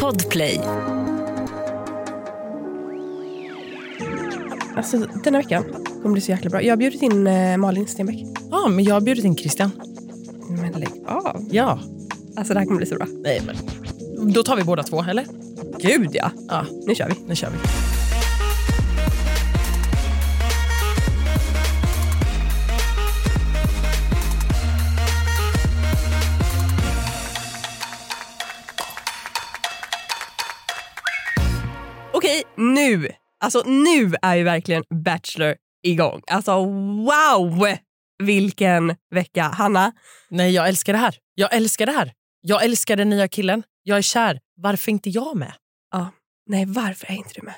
Podplay. Alltså, den här veckan kommer bli så jäkla bra. Jag har bjudit in eh, Malin Stenbeck. Ja, men jag har bjudit in Christian. Men lägg av. Ja. Alltså, det här kommer bli så bra. Nej, men... Då tar vi båda två, eller? Gud, ja. Ja, Nu kör vi. nu kör vi. Okej, nu! Alltså nu är ju verkligen Bachelor igång. Alltså wow! Vilken vecka. Hanna, Nej, jag älskar det här. Jag älskar det här. Jag älskar den nya killen. Jag är kär. Varför inte jag med? nej varför är inte du med?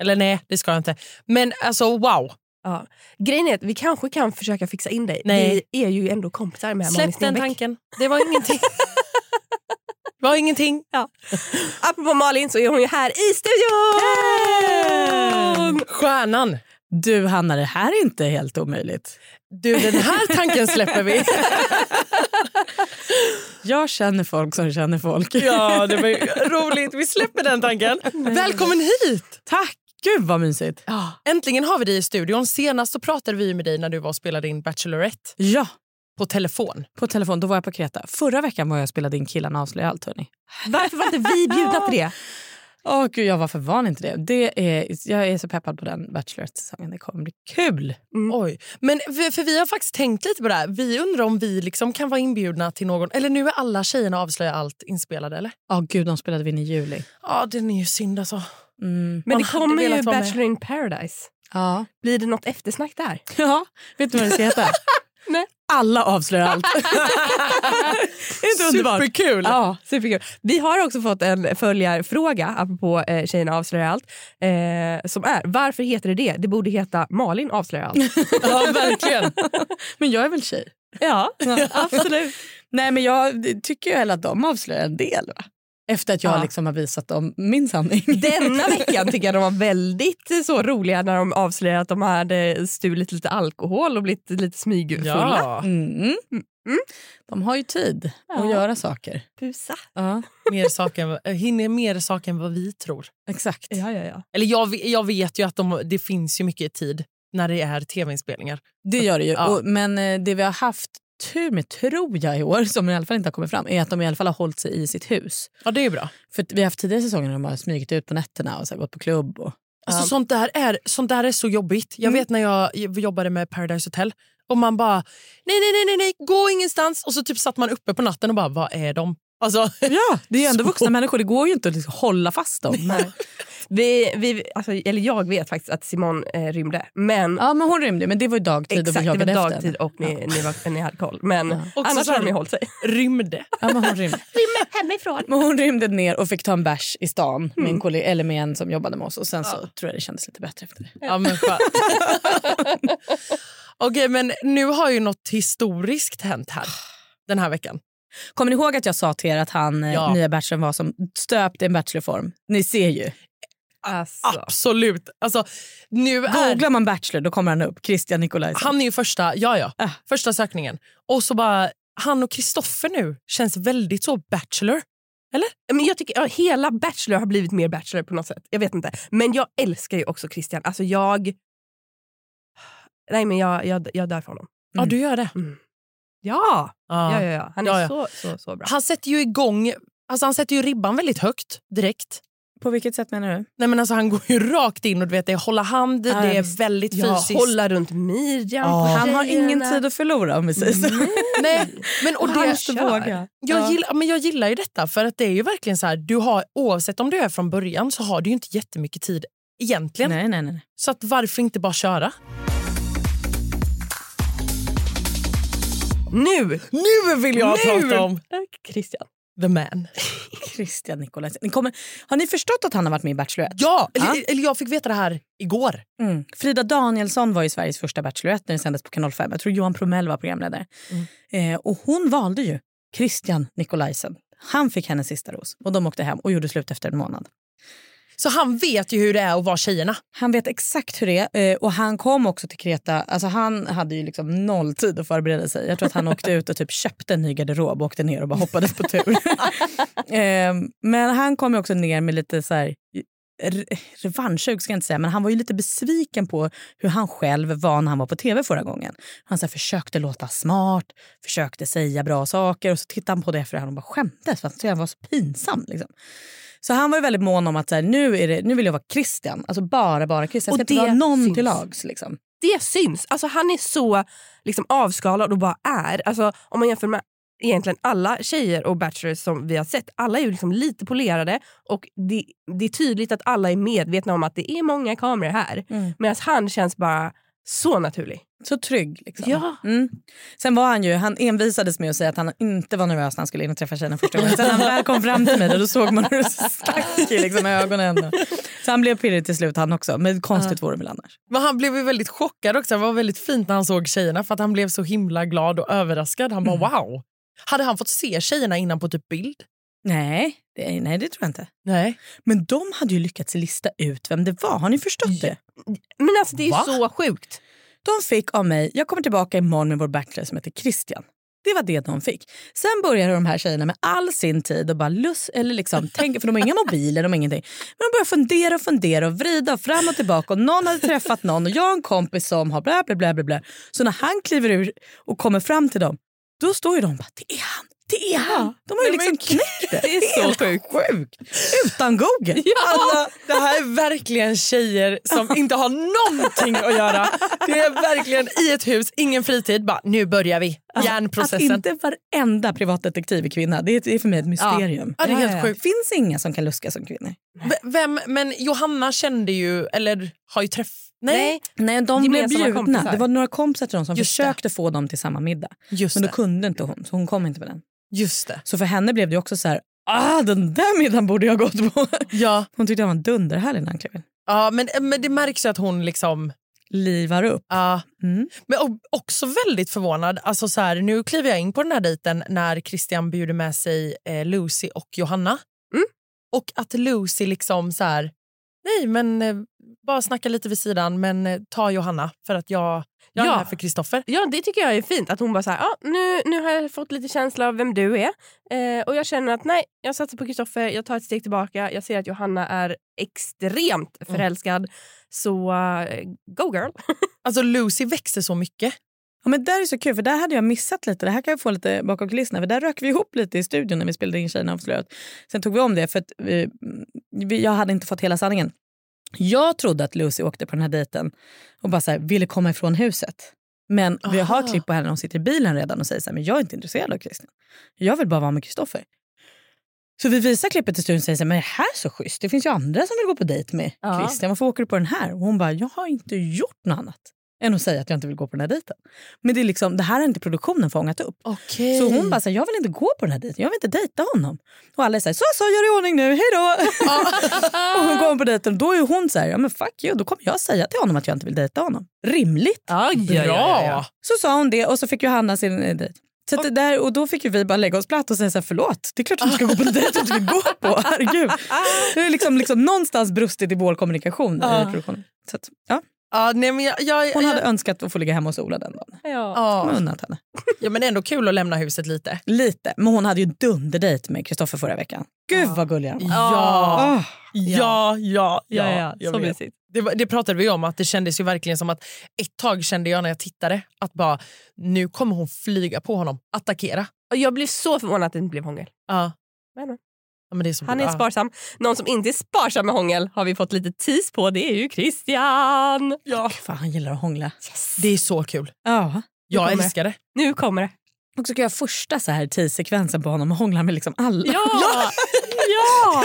Eller nej, det ska jag inte. Men alltså wow. Grejen är att vi kanske kan försöka fixa in dig. Nej. Vi är ju ändå kompisar med Malin Släpp den Stenbeck. tanken. Det var ingenting. det var ingenting. Ja. Apropå Malin så är hon ju här i studion! Stjärnan. Du Hanna, det här är inte helt omöjligt. Du, den här tanken släpper vi. Jag känner folk som känner folk. ja, det var ju roligt. Vi släpper den tanken. Välkommen hit! Tack! Gud vad mysigt. Äntligen har vi dig i studion. Senast så pratade vi med dig när du var och spelade in Bachelorette Ja, på telefon. på telefon. Då var jag på Kreta. Förra veckan var jag och spelade in Killarna avslöjar allt. Hörni. Varför var inte vi bjudna till det? Åh gud, jag var för van inte det. det är, jag är så peppad på den Bachelorette-säsongen. Det kommer bli kul. Oj. Men vi, för vi har faktiskt tänkt lite på det här. Vi undrar om vi liksom kan vara inbjudna till någon... Eller nu är alla tjejerna avslöja allt inspelade, eller? Åh gud, de spelade vi in i juli. Ja, den är ju synd alltså. Mm. Men Man det hade kommer ju velat vara med. Bachelor in paradise. Ja. Blir det något eftersnack där? ja, vet du vad det ska heta? Nej. Alla avslöjar allt. Det är inte underbart. Superkul! Ja, superkul. Vi har också fått en följarfråga apropå eh, Tjejerna avslöjar allt. Eh, som är, varför heter det det? Det borde heta Malin avslöjar allt. Ja, verkligen. Men jag är väl tjej? ja, absolut. Nej, men jag tycker ju heller att de avslöjar en del. Va? Efter att jag Ja. liksom har visat dem min sanning. Denna veckan tycker jag de var väldigt eh, så roliga när de avslöjade att de hade stulit lite alkohol och blivit lite smygfulla. Ja, Mm. De har ju tid Ja. att göra saker. Pusa. Ja, mer saken, eh, hinner mer saker än vad vi tror. exakt. Ja, ja, ja. Eller jag, ve- jag vet ju att de, det finns ju mycket tid när det är tv-inspelningar. Det gör det ju. Ja. Och, men eh, det vi har haft tur med, tror jag, i år som i alla fall inte har kommit fram är att de i alla fall har hållit sig i sitt hus. Ja, det är bra. För att vi har haft tidigare säsonger när de har smugit ut på nätterna och så här, gått på klubb. Och, Alltså, Ja. sånt, där är, sånt där är så jobbigt. Jag vet när jag jobbade med Paradise Hotel och man bara nej, nej, nej, nej, nej, gå ingenstans. Och så typ satt man uppe på natten och bara, vad är de? Alltså, ja, det är ju ändå Så. vuxna människor. Det går ju inte att liksom hålla fast dem. Vi, vi, alltså, eller jag vet faktiskt att Simon eh, rymde, men Ja, men hon rymde, men det var ju dagtid och exakt, vi det var jagade efter dagtid henne. och ni, ni, var, ni hade koll. Men Ja. Också annars så- har de ju hållit sig. rymde. Ja, men hon rymde. Rymmer hemifrån. Men hon rymde ner och fick ta en bärs i stan med, en kollega, eller med en som jobbade med oss. Och Sen så tror jag det kändes lite bättre efter det. Ja, men skönt. Okej, men nu har ju något historiskt hänt här den här veckan. Kommer ni ihåg att jag sa till er att han eh, Ja. nya bachelorn var som stöpt i en bachelorform? Ni ser ju. Ah. Alltså. Absolut. Alltså, nu är, Googlar man bachelor då kommer han upp. Christian Nikolajsson. han är ju första, ja, ja, Ah. första sökningen. Och så bara, han och Kristoffer nu känns väldigt så bachelor. Men jag tycker ja, Hela Bachelor har blivit mer Bachelor på något sätt. Jag vet inte. Men jag älskar ju också Christian. Alltså jag... Nej, men jag, jag, jag dör för honom. Ja, Mm. du gör det. Ja! Ja. ja, ja, ja. Han är Ja, ja. Så, så, så bra. Han sätter ju igång, alltså han sätter ju ribban väldigt högt direkt. På vilket sätt menar du? Nej men alltså han går ju rakt in och du vet det är hålla hand, Ja, det är visst. väldigt Ja, fysiskt. hålla runt midjan Ja. på Han har tjejerna. Mm. ingen tid att förlora om vi säger så. Nej, men, och Och han det, kör. jag, Ja. gillar, men jag gillar ju detta för att det är ju verkligen så här, du har, oavsett om du är från början så har du ju inte jättemycket tid egentligen. Nej, nej, nej. Så att varför inte bara köra? Nu! Nu vill jag Nu! prata om Christian. the man. Christian Nikolajsson. Ni kommer, har ni förstått att han har varit med i Bachelorette? Ja, eller, Ja. eller jag fick veta det här igår. Mm. Frida Danielsson var ju Sveriges första Bachelorette när det sändes på Kanal 5. Jag tror Johan Promell var programledare. Eh, och hon valde ju Christian Nikolajsen. Han fick hennes sista ros och de åkte hem och gjorde slut efter en månad. Så han vet ju hur det är att vara tjejerna. Han vet exakt hur det är eh, och han kom också till Kreta. Alltså han hade ju liksom noll tid att förbereda sig. Jag tror att han åkte ut och typ köpte en ny garderob och åkte ner och bara hoppades på tur. eh, men han kom ju också ner med lite så här eh, re- revanschsug ska jag inte säga, men han var ju lite besviken på hur han själv var när han var på tv förra gången. Han så här, försökte låta smart, försökte säga bra saker och så tittade han på det efter och bara skämdes för att han var så pinsam. Liksom. Så han var ju väldigt mån om att så här, nu, är det, nu vill jag vara Christian. Alltså bara, bara Christian. Jag Och ska inte det vara någon syns. till lags. Liksom. Det syns. Alltså han är så liksom, avskalad och bara är. Alltså, om man jämför med egentligen alla tjejer och bachelors som vi har sett. Alla är ju liksom lite polerade och det, det är tydligt att alla är medvetna om att det är många kameror här. Mm. Medan han känns bara så naturlig. Så trygg. Liksom. Ja. Mm. Sen var han ju, han envisades med att säga att han inte var nervös när han skulle in och träffa tjejerna första gången. Sen när han väl kom fram till mig då, då såg man hur det stack i liksom, ögonen. Ändå. Så han blev pirrig till slut han också. Men konstigt vore det väl annars. Men han blev ju väldigt chockad också. Det var väldigt fint när han såg tjejerna för att han blev så himla glad och överraskad. Han bara wow. Mm. Hade han fått se tjejerna innan på typ bild? Nej det, nej, det tror jag inte. Nej. Men de hade ju lyckats lista ut vem det var. Har ni förstått det? Men alltså det är ju Va? så sjukt. De fick av mig, jag kommer tillbaka imorgon med vår bachelor som heter Christian. Det var det de fick. Sen började de här tjejerna med all sin tid och bara lust, eller liksom, tänk, för de har inga mobiler, de har ingenting. Men de började fundera och fundera och vrida och fram och tillbaka och någon hade träffat någon och jag har en kompis som har bla bla bla bla bla. Så när han kliver ur och kommer fram till dem, då står ju de bara, det är han, det är han. De har ju liksom knäckt det. Det är så sjukt. Utan Google. Alla, det här är verkligen tjejer som inte har någonting att göra. Det är verkligen i ett hus, ingen fritid. Bara, nu börjar vi. Att Hjärnprocessen. inte varenda privatdetektiv är kvinna, det är, det är för mig ett mysterium. Ja, det är helt Det sjukt. finns inga som kan luska som kvinnor. V- Vem, men Johanna kände ju, eller har ju träff... Nej, Nej, de blev Gemensamma bjudna. kompisar. Det var några kompisar till dem som Just försökte få dem till samma middag. just, Men då det. kunde inte hon, så hon kom inte på den. just det. Så för henne blev det också så här, ah den där middagen borde jag gått på. Ja, Hon tyckte han var dunderhärlig när han klev in. ja men, men det märks ju att hon liksom... Livar upp. ja. Mm. Men o- också väldigt förvånad. Alltså så här, nu kliver jag in på den här dejten när Christian bjuder med sig eh, Lucy och Johanna. Mm. Och att Lucy liksom så här... Nej, men eh, bara snacka lite vid sidan, men eh, ta Johanna för att jag, jag är Ja. här för Kristoffer. Ja, det tycker jag är fint. Att hon bara så här, ah, nu, nu har jag fått lite känsla av vem du är. Eh, och jag känner att nej, jag satsar på Kristoffer, jag tar ett steg tillbaka. Jag ser att Johanna är extremt Mm. förälskad. Så eh, go girl. Alltså Lucy växer så mycket. Ja, men där är så kul, för där hade jag missat lite. Det här kan jag få lite bakom kulisserna. För där rök vi ihop lite i studion när vi spelade in Tjejerna avslöjat. Sen tog vi om det för att vi, vi, jag hade inte fått hela sanningen. Jag trodde att Lucy åkte på den här dejten och bara så här, ville komma ifrån huset. Men vi har Aha. klipp på henne när hon sitter i bilen redan och säger så här, men jag är inte intresserad av Christian. Jag vill bara vara med Kristoffer. Så vi visar klippet till studion och säger så här, men det här är så schysst. Det finns ju andra som vill gå på dejt med Ja. Christian. Varför åker du på den här? Och hon bara, jag har inte gjort något annat än att säga att jag inte vill gå på den här dejten. Men det, är liksom, det här har inte produktionen fångat upp. Okej. Så hon bara, så här, jag vill inte gå på den här dejten. Jag vill inte dejta honom. Och alla är så här, så, så gör i ordning nu, hej då! och hon kommer på dejten och då är hon så här, ja men fuck you, då kommer jag säga till honom att jag inte vill dejta honom. Rimligt! Aj, Bra! Så sa hon det och så fick Johanna sin eh, dejt. Så att det där, och då fick ju vi bara lägga oss platt och säga så här, förlåt, det är klart att du ska gå på den dejten du vill gå på. Herregud. Det är liksom, liksom någonstans brustit i vår kommunikation. i Ja. produktionen. Så att, ja, Ja, nej, men jag, jag, hon jag, hade önskat att få ligga hemma hos Ola den dagen. Ja. Hon har ja. unnat henne. ja, men det är ändå kul att lämna huset lite. Lite. Men hon hade ju dunderdejt med Kristoffer förra veckan. Gud Ja. vad gullig han var. Ja. Ah. Ja, ja, ja. jag så vet. mysigt. det, var- det pratade vi om, att det kändes ju verkligen som att ett tag kände jag när jag tittade att bara nu kommer hon flyga på honom, attackera. Och jag blev så förvånad att det inte blev hångel. Ja. Men, men. Ja, men det är så Han är bra. sparsam. Någon som inte är sparsam med hångel har vi fått lite tis på. Det är ju Christian. Ja. Gud, Fan, han gillar att hångla. Det är så kul. Ja. Jag kommer. älskar det. Nu kommer det. Och så ska jag ha första så här tidsekvensen på honom och hångla med liksom alla. Ja! ja!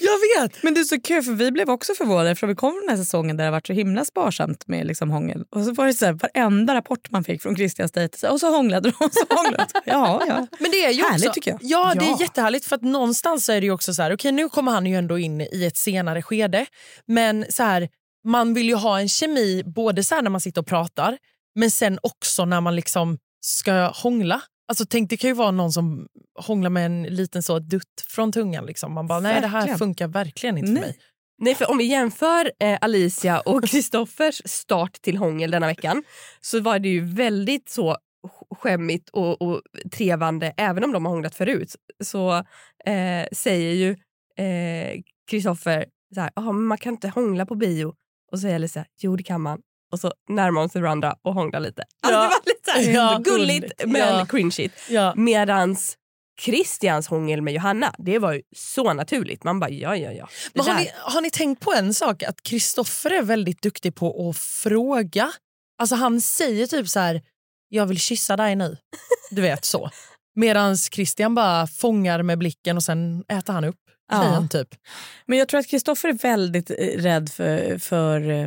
Jag vet! Men det är så kul för vi blev också förvånade för vi kom den här säsongen där det har varit så himla sparsamt med liksom hångel. Och så var det så här, varenda rapport man fick från Christians dejt så här, och så hånglade de och så hånglade de. Ja, ja. Men det är ju Härligt också, tycker jag. Ja, det Ja. är jättehärligt. För att någonstans så är det ju också så här, okej nu kommer han ju ändå in i ett senare skede. Men så här, man vill ju ha en kemi både så här när man sitter och pratar men sen också när man liksom ska hångla. Alltså, tänk, det kan ju vara någon som hånglar med en liten så dutt från tungan. Liksom. Man bara, nej det här Verkligen. funkar verkligen inte Nej. för mig. Nej, för om vi jämför eh, Alicia och Kristoffers start till hångel denna veckan så var det ju väldigt så sk- skämmigt och, och trevande även om de har hånglat förut. Så eh, säger ju eh, Kristoffer så här, "Jaha, men man kan inte hångla på bio. Och så säger Alicia, jo det kan man. Och så närmar de sig varandra och hånglar lite. Alltså, Ja. Det var lite så här, Ja, gulligt gulligt. men Ja. cringeigt. Ja. Medans Christians hångel med Johanna, det var ju så naturligt. Man bara ja, ja, ja. Det Men har, där- ni, har ni tänkt på en sak? Att Kristoffer är väldigt duktig på att fråga. Alltså han säger typ så här, jag vill kyssa dig nu. Du vet så. Medan Christian bara fångar med blicken och sen äter han upp Ja. tjejen typ. Men jag tror att Kristoffer är väldigt eh, rädd för, för eh,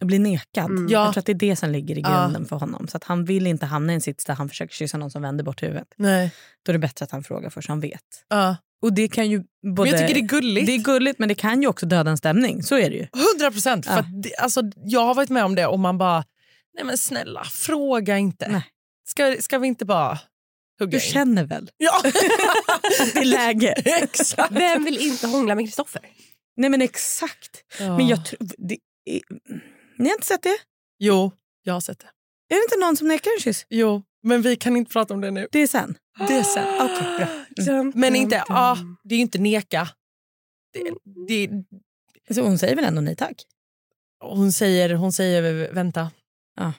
att bli nekad. Mm. Ja. Jag tror att det är det som ligger i Ja. grunden för honom. Så att Han vill inte hamna i en sits där han försöker kyssa någon som vänder bort huvudet. Nej. Då är det bättre att han frågar först, han vet. Ja. Och det kan ju både... Men jag tycker det är gulligt. Det är gulligt men det kan ju också döda en stämning. Så är det ju. 100 procent. Ja. Alltså, jag har varit med om det och man bara, nej men snälla, fråga inte. Nej. Ska, ska vi inte bara hugga Du in? känner väl Ja, att det är läge? exakt. Vem vill inte hångla med Kristoffer? Nej men exakt. Men jag tror... det är- Ni har inte sett det? Jo, jag har sett det. Är det inte någon som nekar en kyss? Jo, men vi kan inte prata om det nu. Det är sen. Det är sen. Okej, Ah, bra. Mm. Men inte, ja, det är ju inte neka. Det, det, Så hon säger väl ändå nej tack? hon, säger, hon säger vänta. Ja.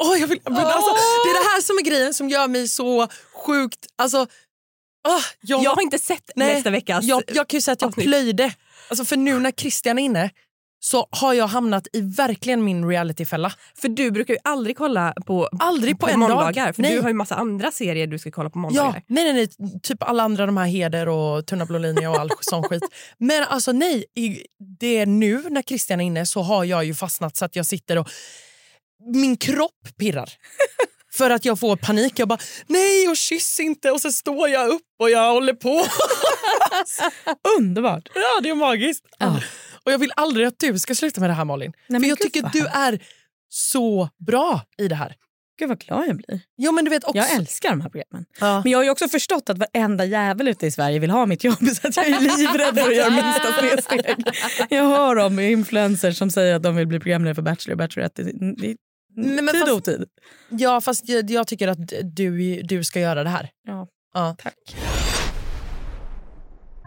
Åh, jag vill, men alltså, Åh! det är det här som är grejen som gör mig så sjukt... Alltså, ah, jag, Jag jag, har inte sett Nej, nästa veckas. jag, kan ju säga att jag avsnitt. plöjde. Alltså, för nu när Christian är inne så har jag hamnat i verkligen min realityfälla. För du brukar ju aldrig kolla på, Aldrig på, på en måndagar. dag. För Nej. du har ju massa andra serier du ska kolla på Ja, måndagar. nej, nej, nej, typ alla andra de här Heder och Tunna blå linjer och all sån skit. Men alltså nej, i- det är nu när Christian är inne så har jag ju fastnat så att jag sitter och min kropp pirrar. För att jag får panik. Jag bara, nej och kyss inte och så står jag upp och jag håller på. Underbart. Ja, det är magiskt. Ja. Och jag vill aldrig att du ska sluta med det här Malin. Nej, men För jag gud, tycker vad du härligt. är så bra i det här. Gud vad glad jag blir. Jo men du vet också. Jag älskar de här programmen. Ja. Men jag har ju också förstått att varenda jävel ute i Sverige vill ha mitt jobb så att jag är livrädd för att göra minsta snedsteg. Jag hör om influencers som säger att de vill bli programledare för Bachelor och Bachelorette. Det är- det är Nej, men tid fast- och otid. Ja, fast jag, jag tycker att du, du ska göra det här. Ja. Ja. Tack.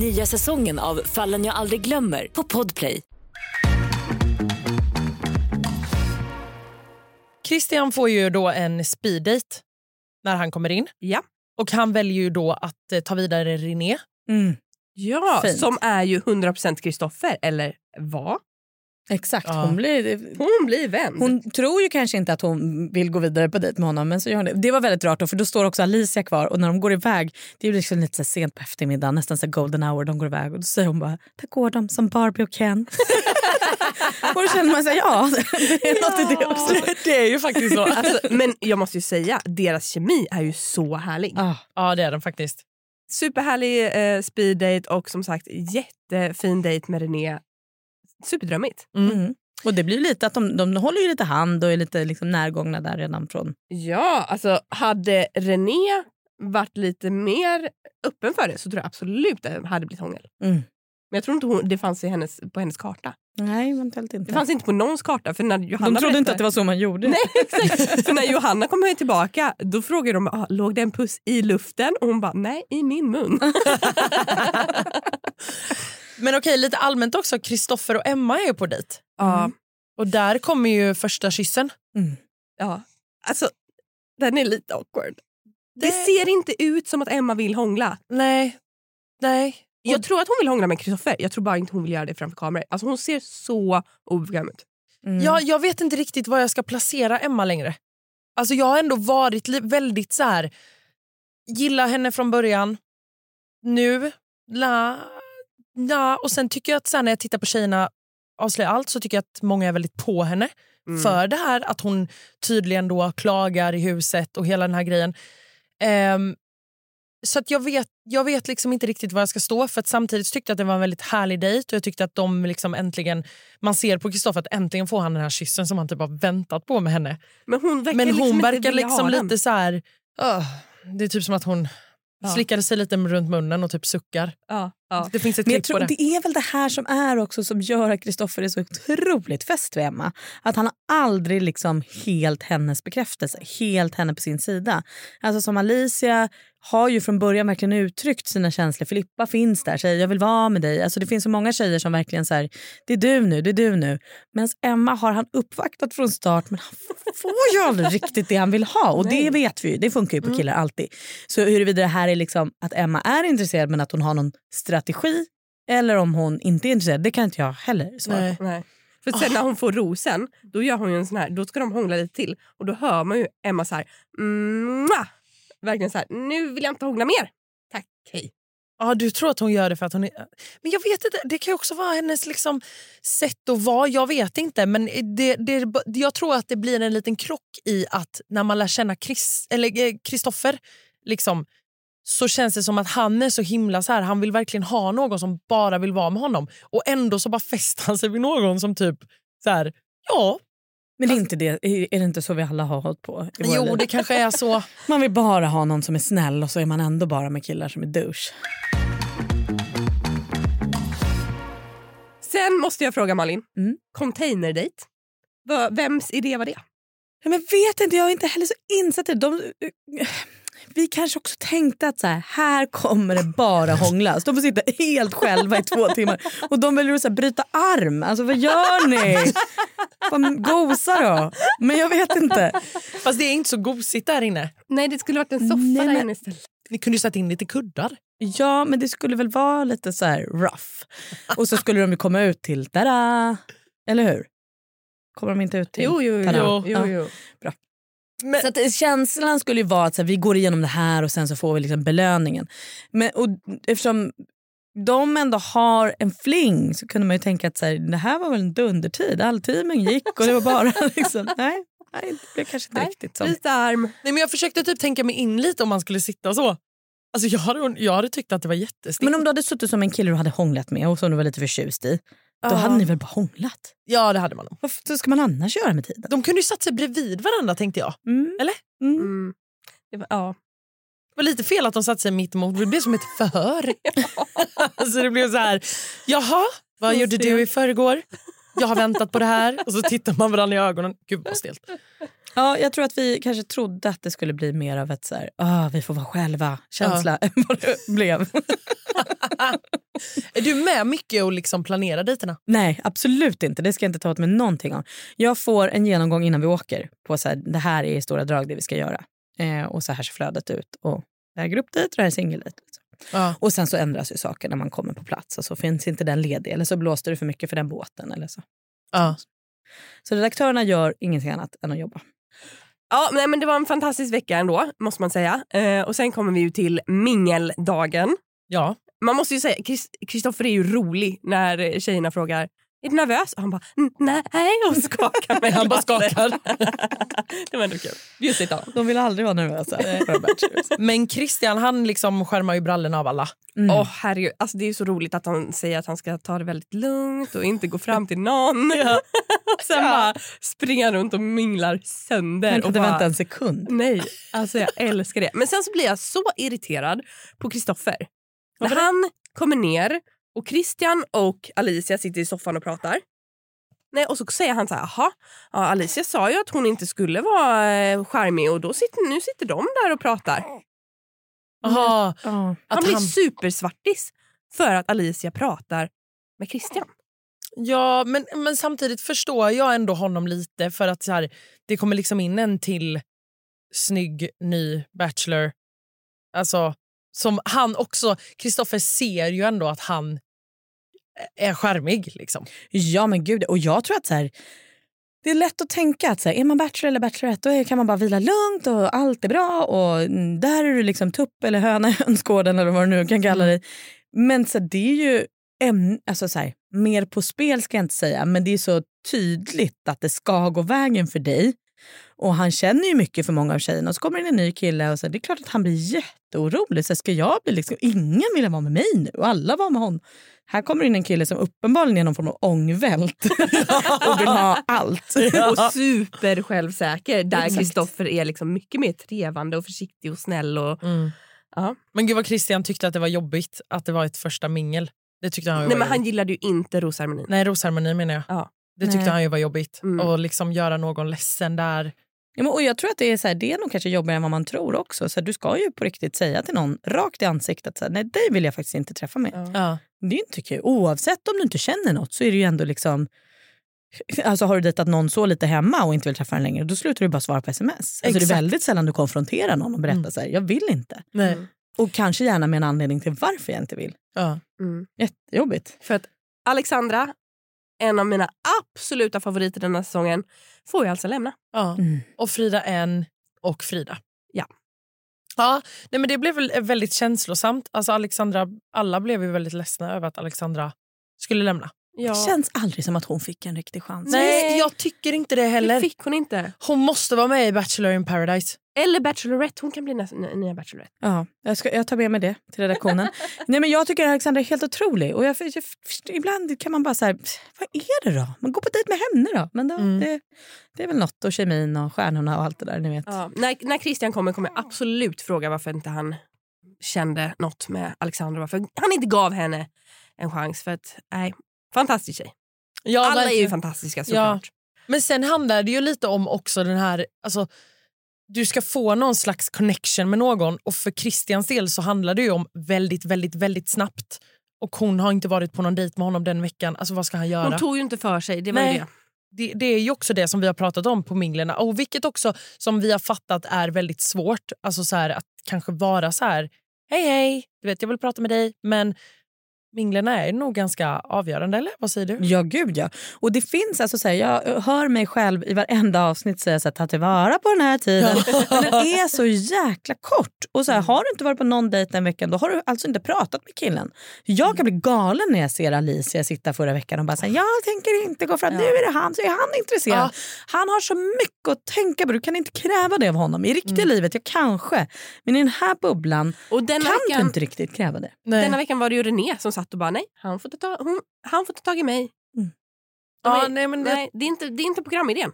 Nya säsongen av Fallen jag aldrig glömmer på Podplay. Christian får ju då en speeddate när han kommer in. Ja. Och han väljer ju då att eh, ta vidare René. Mm, Ja, Fint. som är ju 100% Kristoffer, eller vad? exakt. Ja. Hon, blir, Hon blir vän. hon tror ju kanske inte att hon vill gå vidare på dejt med honom men så gör hon det. Det var väldigt rart då, för då står också Alicia kvar och när de går iväg, det är ju liksom lite så här sent på eftermiddagen, nästan så här golden hour, de går iväg och då säger hon bara, där går de som Barbie och Ken. och då känner man sig ja, det är något i det också. det är ju faktiskt så. Alltså, men jag måste ju säga, deras kemi är ju så härlig. Ah. ja, det är den faktiskt. Superhärlig eh, speed date och som sagt jättefin dejt med René. Superdrömmigt. Mm. Och det blir ju lite att de, de håller ju lite hand och är lite liksom närgångna där redan från... Ja, alltså hade René varit lite mer öppen för det så tror jag absolut att det hade blivit hångel. Mm. Men jag tror inte hon, det fanns i hennes, på hennes karta. Nej, eventuellt inte. Det fanns inte på någons karta. För när Johanna de trodde inte berättade- att det var så man gjorde. Nej, exakt. För när Johanna kommer tillbaka då frågar de ah, låg det en puss i luften och hon bara nej, i min mun. Mm. Men okej, lite allmänt också. Kristoffer och Emma är ju på dejt. Ja, Och där kommer ju första kyssen. ja. Alltså, den är lite awkward. Det Det- ser inte ut som att Emma vill hångla. Nej. Nej. Jag tror att hon vill hångla med Kristoffer. Jag tror bara inte hon vill göra det framför kameror. Alltså hon ser så obekväm ut. Mm. Jag, jag vet inte riktigt var jag ska placera Emma längre. Alltså jag har ändå varit li- väldigt så här... Gilla henne från början. nu, la, ja. Och sen tycker jag att så här, när jag tittar på tjejerna avslöjar allt så tycker jag att många är väldigt på henne Mm. för det här att hon tydligen då klagar i huset och hela den här grejen. Ehm, så att jag vet, jag vet liksom inte riktigt vad jag ska stå för. Att samtidigt tyckte jag att det var en väldigt härlig dejt och jag tyckte att de liksom äntligen, man ser på Kristoffer att äntligen får han den här kyssen som han typ har väntat på med henne. Men hon verkar Men liksom hon inte verkar vilja ha liksom den. lite så här... "Åh." det är typ som att hon Ja. slickade sig lite runt munnen och typ suckar. Ja, ja. Det finns ett Men jag klipp på tror, det. det är väl det här som är också som gör att Kristoffer är så otroligt fäst vid Emma. Att han har aldrig liksom helt hennes bekräftelse, helt henne på sin sida. Alltså som Alicia har ju från början verkligen uttryckt sina känslor. Filippa finns där, säger jag vill vara med dig. Alltså det finns så många tjejer som verkligen säger det är du nu, det är du nu. Medan Emma har han uppvaktat från start men han f- får ju aldrig riktigt det han vill ha. Och det vet vi ju, det funkar ju Mm. på killar alltid. Så huruvida det här är liksom att Emma är intresserad men att hon har någon strategi eller om hon inte är intresserad, det kan inte jag heller svara på. Nej. Nej. För sen när hon får rosen, då gör hon ju en sån här, då ska de hångla lite till. Och då hör man ju Emma så här, "Mua!" verkligen så här, nu vill jag inte hångla mer. Tack, hej. Ja, du tror att hon gör det för att hon är... Men jag vet inte, det kan ju också vara hennes liksom sätt att vara. Jag vet inte, men det, det, jag tror att det blir en liten krock i att när man lär känna Chris, eller eh, Kristoffer liksom, så känns det som att han är så himla så här, han vill verkligen ha någon som bara vill vara med honom. Och ändå så bara fäster han sig vid någon som typ så här, ja, Men det är, inte det, är är det inte så vi alla har hållit på? I våra jo liv? det kanske är så. Man vill bara ha någon som är snäll och så är man ändå bara med killar som är douche. Sen måste jag fråga Malin, Mm. containerdate. Va- Vems idé var det? Ja, men vet inte, jag är inte heller så insatt i det. De, vi kanske också tänkte att så här, här kommer det bara hånglas. De får sitta helt själva i två timmar och de väljer att så här, bryta arm. Alltså vad gör ni? Fan, Gosa då. Men jag vet inte. Fast det är inte så gosigt där inne. Nej, det skulle varit en soffa Nej, där men- inne istället. Ni kunde ju sätta in lite kuddar. Ja, men det skulle väl vara lite så här rough. Och så skulle de ju komma ut till tada. Eller hur? Kommer de inte ut till? Jo, jo, jo. tada? jo, jo, Ja. jo. Men, Så att eh, känslan skulle ju vara att så här, vi går igenom det här och sen så får vi liksom belöningen. Men, och, eftersom de ändå har en fling så kunde man ju tänka att så här, det här var väl en dundertid. All timmen gick och det var bara liksom, nej, nej det blev kanske inte Nej, riktigt så. Byta arm. Nej, men jag försökte typ tänka mig in lite om man skulle sitta så. Alltså, jag, hade, jag hade tyckt att det var jättestelt. Men om du hade suttit som en kille du hade hånglat med och som du var lite förtjust i, då hade ni väl bara hånglat? Ja, det hade man. nog. Vad f- så ska man annars göra med tiden? De kunde ju satt sig bredvid varandra tänkte jag. Mm. Eller? Mm. Mm. Det var, ja. Det var lite fel att de satt sig mitt emot. Det blev som ett förhör. alltså, det blev så här, jaha, vad Så gjorde stelt. du i förrgår? Jag har väntat på det här. Och så tittar man varandra i ögonen. Gud vad stelt. Ja, jag tror att vi kanske trodde att det skulle bli mer av ett så här, "Ah, vi får vara själva känsla än vad det blev. Är du med mycket och liksom planera dejterna? Nej, absolut inte. Det ska jag inte ta åt mig någonting om. Jag får en genomgång innan vi åker på så här, det här är i stora drag det vi ska göra. Eh, och så här ser flödet ut. Och det här är gruppdejt och det här är singeldejt. Ja. Och sen så ändras ju saker när man kommer på plats och så finns inte den ledig eller så blåste det för mycket för den båten eller så. Ja. Så redaktörerna gör ingenting annat än att jobba. Ja, nej, men det var en fantastisk vecka ändå, måste man säga. Eh, och sen kommer vi ju till mingeldagen. ja. Man måste ju säga, Kristoffer är ju rolig när eh, tjejerna frågar är du nervös? Och han bara "N- nej och skakar med Han bara glaset. skakar. det var ändå kul. Bjussigt av honom. De vill aldrig vara nervösa. Men Christian han liksom skärmar ju brallorna av alla. Mm. Åh herregud, alltså, det är ju så roligt att han säger att han ska ta det väldigt lugnt och inte gå fram till någon. och sen bara springer han runt och minglar Han sönder. Och kunde bara, vänta en sekund. Nej, alltså jag älskar det. Men sen så blir jag så irriterad på Kristoffer. När han kommer ner och Christian och Alicia sitter i soffan och pratar. Nej, och så säger han så här, jaha, ja, Alicia sa ju att hon inte skulle vara eh, charmig och då sitter, nu sitter de där och pratar. Aha, Ja. Han att blir Mm. han- supersvartis för att Alicia pratar med Christian. Ja, men, men samtidigt förstår jag ändå honom lite för att så här, det kommer liksom in en till snygg ny bachelor. Alltså, som han också... Kristoffer ser ju ändå att han är charmig. Liksom. Ja men gud, och jag tror att så här, det är lätt att tänka att så här, är man bachelor eller bachelorette då kan man bara vila lugnt och allt är bra och mm, där är du liksom tupp eller höna i hönsgården eller vad du nu kan kalla dig. Men så här, det är ju äm- alltså, så här, mer på spel ska jag inte säga men det är så tydligt att det ska gå vägen för dig. Och han känner ju mycket för många av tjejerna och så kommer det in en ny kille och så här, det är klart att han blir jätteorolig. Så här, ska jag bli liksom, ingen vill vara med mig nu och alla var med honom. Här kommer in en kille som uppenbarligen är någon form av ångvält och vill ha allt. Och super självsäker där Kristoffer är liksom mycket mer trevande och försiktig och snäll. Och, Mm. Ja. Men gud vad Christian tyckte att det var jobbigt att det var ett första mingel. Det tyckte han ju nej, var men han gillade ju inte rosceremonin. Nej, rosceremoni menar jag. Ja. Det tyckte Nej. han ju var jobbigt. Mm. Och liksom göra någon ledsen där. Ja, men, och jag tror att det är, så här, det är nog kanske jobbigare än vad man tror också. Så här, du ska ju på riktigt säga till någon rakt i ansiktet så här, nej dig vill jag faktiskt inte träffa mer. Ja. Det är ju inte kul. Oavsett om du inte känner något så är det ju ändå liksom Alltså har du dejtat någon så lite hemma och inte vill träffa den längre då slutar du bara svara på sms. Alltså det är Exakt. väldigt sällan du konfronterar någon och berättar Mm. så här, jag vill inte. Nej. Och kanske gärna med en anledning till varför jag inte vill. Ja. Mm. Jättejobbigt. För att Alexandra, en av mina absoluta favoriter denna säsongen, får ju alltså lämna. Ja. Mm. Och Frida en och Frida. Ja. Ja, nej men det blev väl eh, väldigt känslosamt. Alltså Alexandra, alla blev ju väldigt ledsna över att Alexandra skulle lämna. Ja. Det känns aldrig som att hon fick en riktig chans. Nej, jag tycker inte det Det heller. fick hon inte. Hon måste vara med i Bachelor in paradise. Eller Bachelorette, hon kan bli nästa n- nya Bachelorette. Ja, jag, ska, jag tar med mig det till redaktionen. Nej, men jag tycker att Alexandra är helt otrolig. Och jag, jag, ibland kan man bara så här, vad är det då? Man går på dejt med henne då. Men då, Mm. det, det är väl något. Och kemin och stjärnorna och allt det där. Ni vet. Ja. När, när Christian kommer kommer jag absolut fråga varför inte han kände något med Alexandra. Varför han inte gav henne en chans. För att, nej, fantastisk tjej. Ja, Alla är ju verkligen. fantastiska Ja. såklart. Men sen handlar det ju lite om också den här... Alltså, du ska få någon slags connection med någon och för Christians del så handlar det ju om väldigt, väldigt, väldigt snabbt. Och hon har inte varit på någon dejt med honom den veckan. Alltså vad ska han göra? Hon tog ju inte för sig. Det var Nej. ju det. det, det är ju också det som vi har pratat om på minglerna och vilket också som vi har fattat är väldigt svårt. Alltså så här, att kanske vara så här, hej hej, du vet jag vill prata med dig men minglerna är nog ganska avgörande eller vad säger du? Ja, gud ja. Och det finns alltså så här, jag hör mig själv i varenda avsnitt säga så här, ta tillvara på den här tiden. Men den är så jäkla kort. Och så här, har du inte varit på någon dejt den veckan, då har du alltså inte pratat med killen. Jag kan bli galen när jag ser Alicia sitta förra veckan och bara säga, jag tänker inte gå fram, nu är det han, så är han intresserad. Ja. Han har så mycket att tänka på, du kan inte kräva det av honom. I riktiga livet, ja kanske. Men i den här bubblan Och denna kan du veckan, inte riktigt kräva det. Eh. denna veckan var det ju René som satt och bara nej, han får ta, ta, hon, han får ta tag i Mm. mig. De ja, är- nej, men det, nej. Nej, det är inte, det är inte programidén.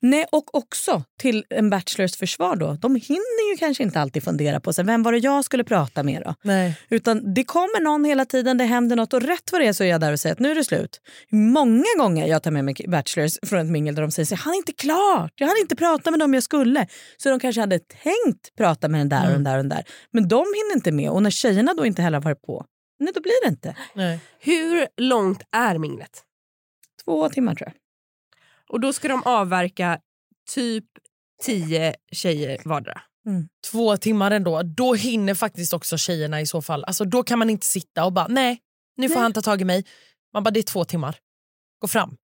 Nej, och också till en bachelors försvar då. De hinner ju kanske inte alltid fundera på sig, vem var det jag skulle prata med då? nej. Utan det kommer någon hela tiden, det händer något och rätt vad det är så är jag där och säger att nu är det slut. Många gånger jag tar med mig bachelors från ett mingel där de säger så här, han är inte klart, jag hann inte prata med dem jag skulle. Så de kanske hade tänkt prata med den där och den där och den där. Men de hinner inte med och när tjejerna då inte heller har varit på, nej då blir det inte. nej. Hur långt är minglet? Två timmar tror jag. Och då ska de avverka typ tio tjejer vardera. Två timmar ändå, då hinner faktiskt också tjejerna i så fall. Alltså, då kan man inte sitta och bara nej, nu får Nej. han ta tag i mig. Man bara det är två timmar, gå fram.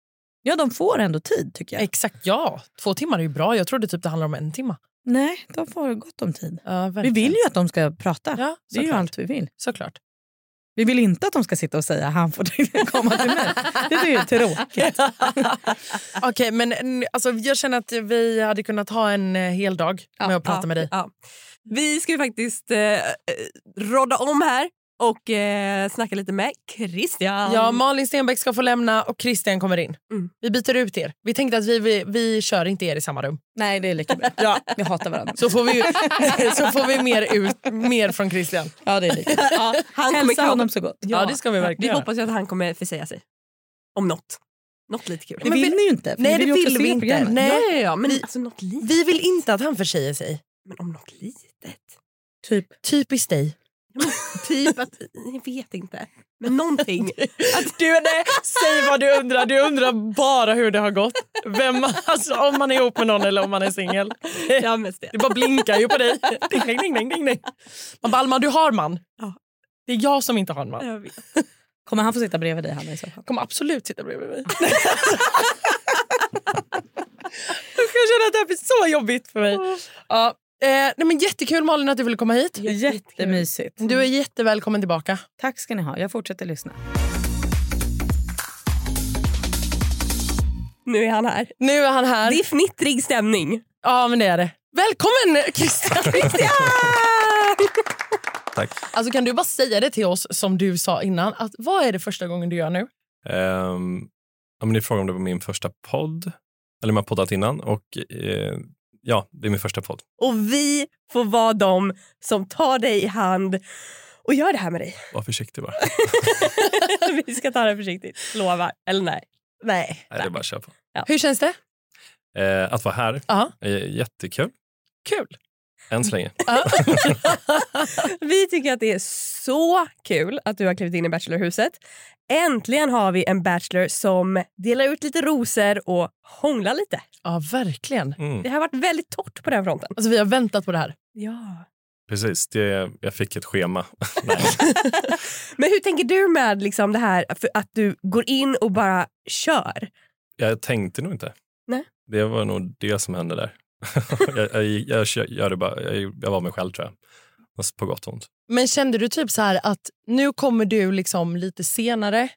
Ja, de får ändå tid tycker jag. Exakt, ja. Två timmar är ju bra. Jag trodde typ det handlade om en timme. Nej, de får gott om tid. Ja, Vi vill ju att de ska prata. Ja, det är ju såklart. allt vi vill. Såklart. Vi vill inte att de ska sitta och säga han får komma till mig. Det är ju tråkigt. Okej, men mm, alltså, jag känner att vi hade kunnat ha en eh, hel dag med att prata ja, med dig. Ja. Vi ska ju faktiskt eh, eh, rodda om här och eh, snacka lite med Christian. Ja, Malin Stenbeck ska få lämna och Christian kommer in. Mm. Vi byter ut er. Vi tänkte att vi, vi, vi kör inte er i samma rum. Nej, det är lika bra. Ja. Vi hatar varandra. Så får vi, så får vi mer, ut, mer från Christian. Ja, det är lika bra. Ja, han kommer Hälsa kanske- honom så gott. Ja, det ska vi verkligen Vi göra. hoppas ju att han kommer försäga sig. Om något. Något lite kul. Det vill ni ju inte. för Nej, ni det ju också vill se vi inte. programmet. Nej. Ja, ja, ja, men vi- alltså något litet. Vi vill inte att han försäger sig. Men om något litet. Typ. Typiskt dig. Ja, men typ att, jag vet inte. Men någonting. Du, nej, säg vad du undrar. Du undrar bara hur det har gått. Vem, alltså, om man är ihop med någon eller om man är singel. Ja, mest det. Det bara blinkar ju på dig. Ding, ding, ding, ding, ding, ding. Man bara, Alma, du har man. Ja. Det är jag som inte har en man. Jag vet. Kommer han få sitta bredvid dig, Hanna? I så fall? kommer absolut sitta bredvid mig. Jag känner att det här blir så jobbigt för mig. Ja. Eh, nej, men jättekul Malin att du ville komma hit. Mm. Jättemysigt. Du är jättevälkommen tillbaka. Tack ska ni ha. Jag fortsätter lyssna. Nu är han här. Nu är han här. Det är fnittrig stämning. Ja, men det är det. Välkommen Christian! Christian! Tack. Alltså, kan du bara säga det till oss som du sa innan? Att, vad är det första gången du gör nu? Ehm, ja, men ni frågade om det var min första podd. Eller man har poddat innan. Och, eh, ja, det är min första podd. Och vi får vara de som tar dig i hand och gör det här med dig. Var försiktig bara. vi ska ta det försiktigt. Lovar. Eller nej. Nej. Nej, det är bara att köra på. Hur känns det? Eh, att vara här Ja. är jättekul. Kul. Än så länge. Vi tycker att det är så kul att du har klivit in i Bachelorhuset. Äntligen har vi en bachelor som delar ut lite rosor och hånglar lite. Ja, verkligen. Mm. Det har varit väldigt torrt på den fronten. Alltså, vi har väntat på det här. Ja. Precis, det, jag fick ett schema. Nej. Men hur tänker du med liksom det här för att du går in och bara kör? Jag tänkte nog inte. Nej. Det var nog det som hände där. jag, jag, jag, kö- gör det bara, jag, jag var mig själv tror jag. Fast På gott och ont. Men kände du typ så här att nu kommer du liksom lite senare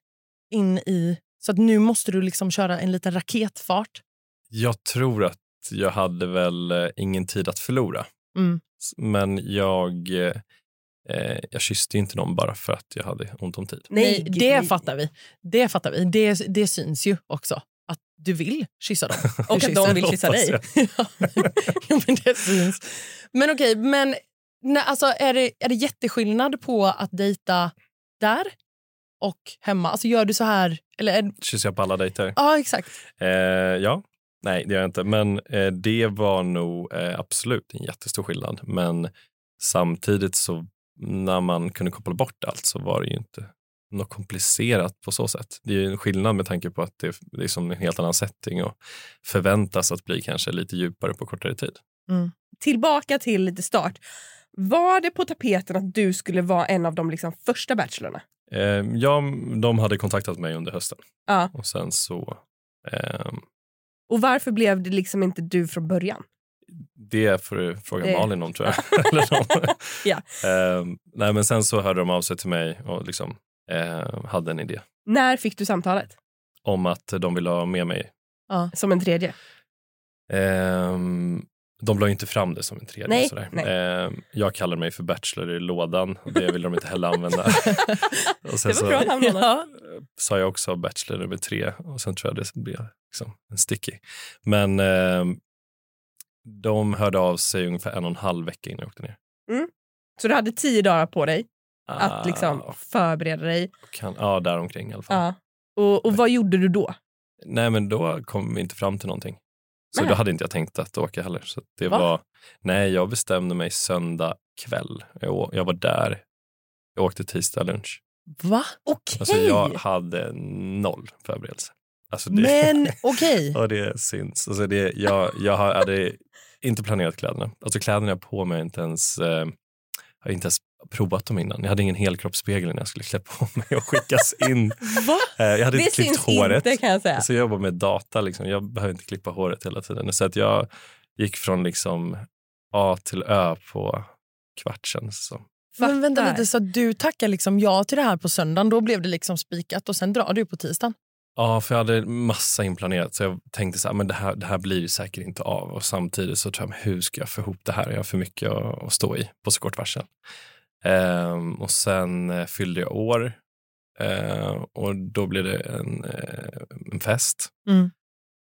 in i... Så att nu måste du liksom köra en liten raketfart. Jag tror att jag hade väl eh, ingen tid att förlora. Mm. S- Men jag, eh, jag kysste ju inte någon bara för att jag hade ont om tid. Nej, gud, det nej. fattar vi. Det fattar vi. Det, det syns ju också att du vill kyssa dem. Och att de vill kyssa Hoppas dig. jag. ja, men, ja, men det syns. Men okej, men nej, alltså, är, det, är det jätteskillnad på att dejta där och hemma? Alltså gör du så här... Eller är, Kysser jag på alla dejter? ja, exakt. Eh, ja. Nej, det gör jag inte. Men eh, det var nog eh, absolut en jättestor skillnad. Men samtidigt så när man kunde koppla bort allt så var det ju inte något komplicerat på så sätt. Det är ju en skillnad med tanke på att det är liksom en helt annan setting och förväntas att bli kanske lite djupare på kortare tid. Tillbaka till lite start. Var det på tapeten att du skulle vara en av de liksom första bachelorna? Eh, ja, de hade kontaktat mig under hösten Ja. och sen så ehm, Och varför blev det liksom inte du från början? Det får du fråga Det- Malin om, tror jag. Eller någon. Ja. Ehm, nej, men sen så hörde de av sig till mig och liksom, eh, hade en idé När fick du samtalet? om att de ville ha med mig. Som en tredje? Ehm, de la ju inte fram det som en tredje. Nej, sådär. nej. Ehm, jag kallar mig för bachelor i lådan. och Det ville de inte heller använda. och sen Alltså, Det var bra så namn, Anna. sa jag också bachelor nummer tre och sen tror jag det blev liksom en sticky. Men ehm, de hörde av sig ungefär en och en halv vecka innan jag åkte ner. Så du hade tio dagar på dig att Ah, liksom förbereda dig. Kan, ja, däromkring i alla fall. Ja. Och, och vad gjorde du då? Nej, men då kom vi inte fram till någonting. Så Nej. då hade inte jag tänkt att åka heller. Så att det Va? var, nej, jag bestämde mig söndag kväll. Jag, å- jag var där. Jag åkte tisdag lunch. Va? Okej! Alltså, jag hade noll förberedelse. Alltså, det, Men okej. Ja, det syns. Alltså, det, jag, jag har- hade inte planerat kläderna. Alltså, kläderna jag på mig har inte ens... Eh, jag har inte ens provat dem innan. Jag hade ingen helkroppsspegel när jag skulle klä på mig och skickas in. Va? Eh, Jag hade Det inte klippt syns håret. inte kan jag säga. Så jag jobbar med data, liksom. jag behöver inte klippa håret hela tiden. Så att jag gick från liksom A till Ö på kvart känns det som. Men vänta Fattar. lite, så du tackar liksom ja till det här på söndagen. Då blev det liksom spikat och sen drar du på tisdagen. Ja, för jag hade massa inplanerat så jag tänkte så här, men det här, det här blir säkert inte av. Och samtidigt så tror jag, men hur ska jag få ihop det här? Jag har för mycket att, att stå i på så kort varsel. Ehm, och sen eh, fyllde jag år Ehm, och då blev det en, eh, en fest. Mm.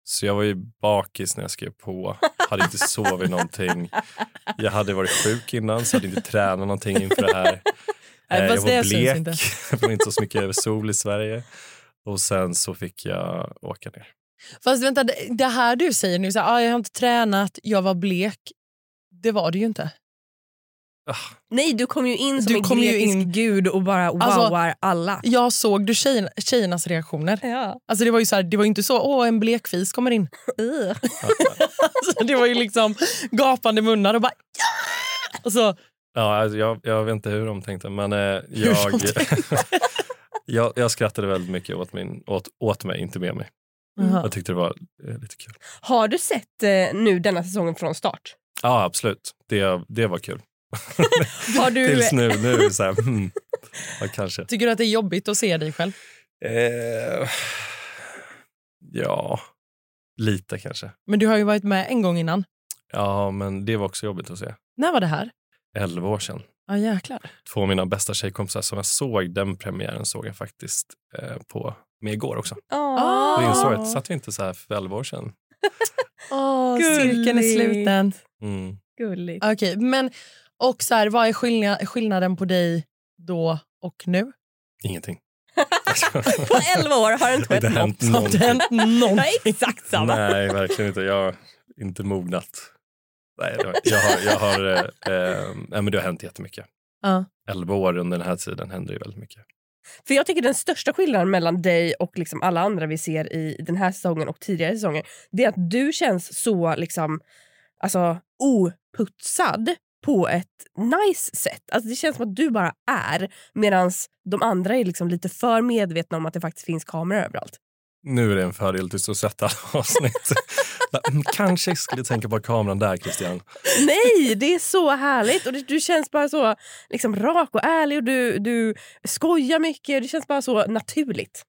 Så jag var ju bakis när jag skrev på, hade inte sovit någonting. Jag hade varit sjuk innan så hade inte tränat någonting inför det här. Nej, Eh, jag fast det var syns inte. blek, det var inte så mycket sol i Sverige. Och sen så fick jag åka ner. Fast vänta, det- det här du säger nu, så här, ah, jag har inte tränat, jag var blek. Det var det ju inte. Nej, du kom ju in som Du en kom ju grekisk in- gud och bara Alltså- wowar alla. Jag såg du tjejerna, tjejernas reaktioner. Ja. Alltså det var ju så här, det var ju inte så åh en blek fis kommer in. alltså, det var ju liksom gapande munnar och bara ja! Och så, Ja, alltså jag, jag vet inte hur de tänkte, men eh, jag, de jag, jag skrattade väldigt mycket åt, min, åt, åt mig, inte med mig. Jaha. Jag tyckte det var eh, lite kul. Har du sett eh, nu denna säsongen från start? Ja, absolut. Det, det var kul. Har du, Tills nu. nu är det så här, hmm, ja, kanske. Tycker du att det är jobbigt att se dig själv? Eh, ja, lite kanske. Men du har ju varit med en gång innan. Ja, men det var också jobbigt att se. När var det här? 11 år sedan. Ja, jäklar. Två av mina bästa tjejkompisar som jag såg den premiären såg jag faktiskt eh, på med igår också. Åh. Och Ah. insåg att satt vi inte så här för 11 år sedan. Åh, cirkeln cirkeln är är sluten. Mm. Gulligt. Okej, men och så här, vad är skillna- skillnaden på dig då och nu? Ingenting. På 11 år har det inte Har inte skett hänt något. någonting. Jag är exakt samma. Nej, verkligen inte. Jag har inte mognat. Nej, jag, jag har, jag har, eh, eh, nej, men det har hänt jättemycket. Ja. 11 år under den här tiden händer ju väldigt mycket. För jag tycker den största skillnaden mellan dig och liksom alla andra vi ser i den här säsongen och tidigare säsonger, det är att du känns så liksom, alltså, oputsad på ett nice sätt. Alltså, det känns som att du bara är medan de andra är liksom lite för medvetna om att det faktiskt finns kameror överallt. Nu är det en fördel tills du sett alla avsnitt. Mm, Kanske skulle tänka på kameran där, Christian. Nej, det är så härligt! Och det, Du känns bara så liksom, rak och ärlig och du, du skojar mycket. Det känns bara så naturligt.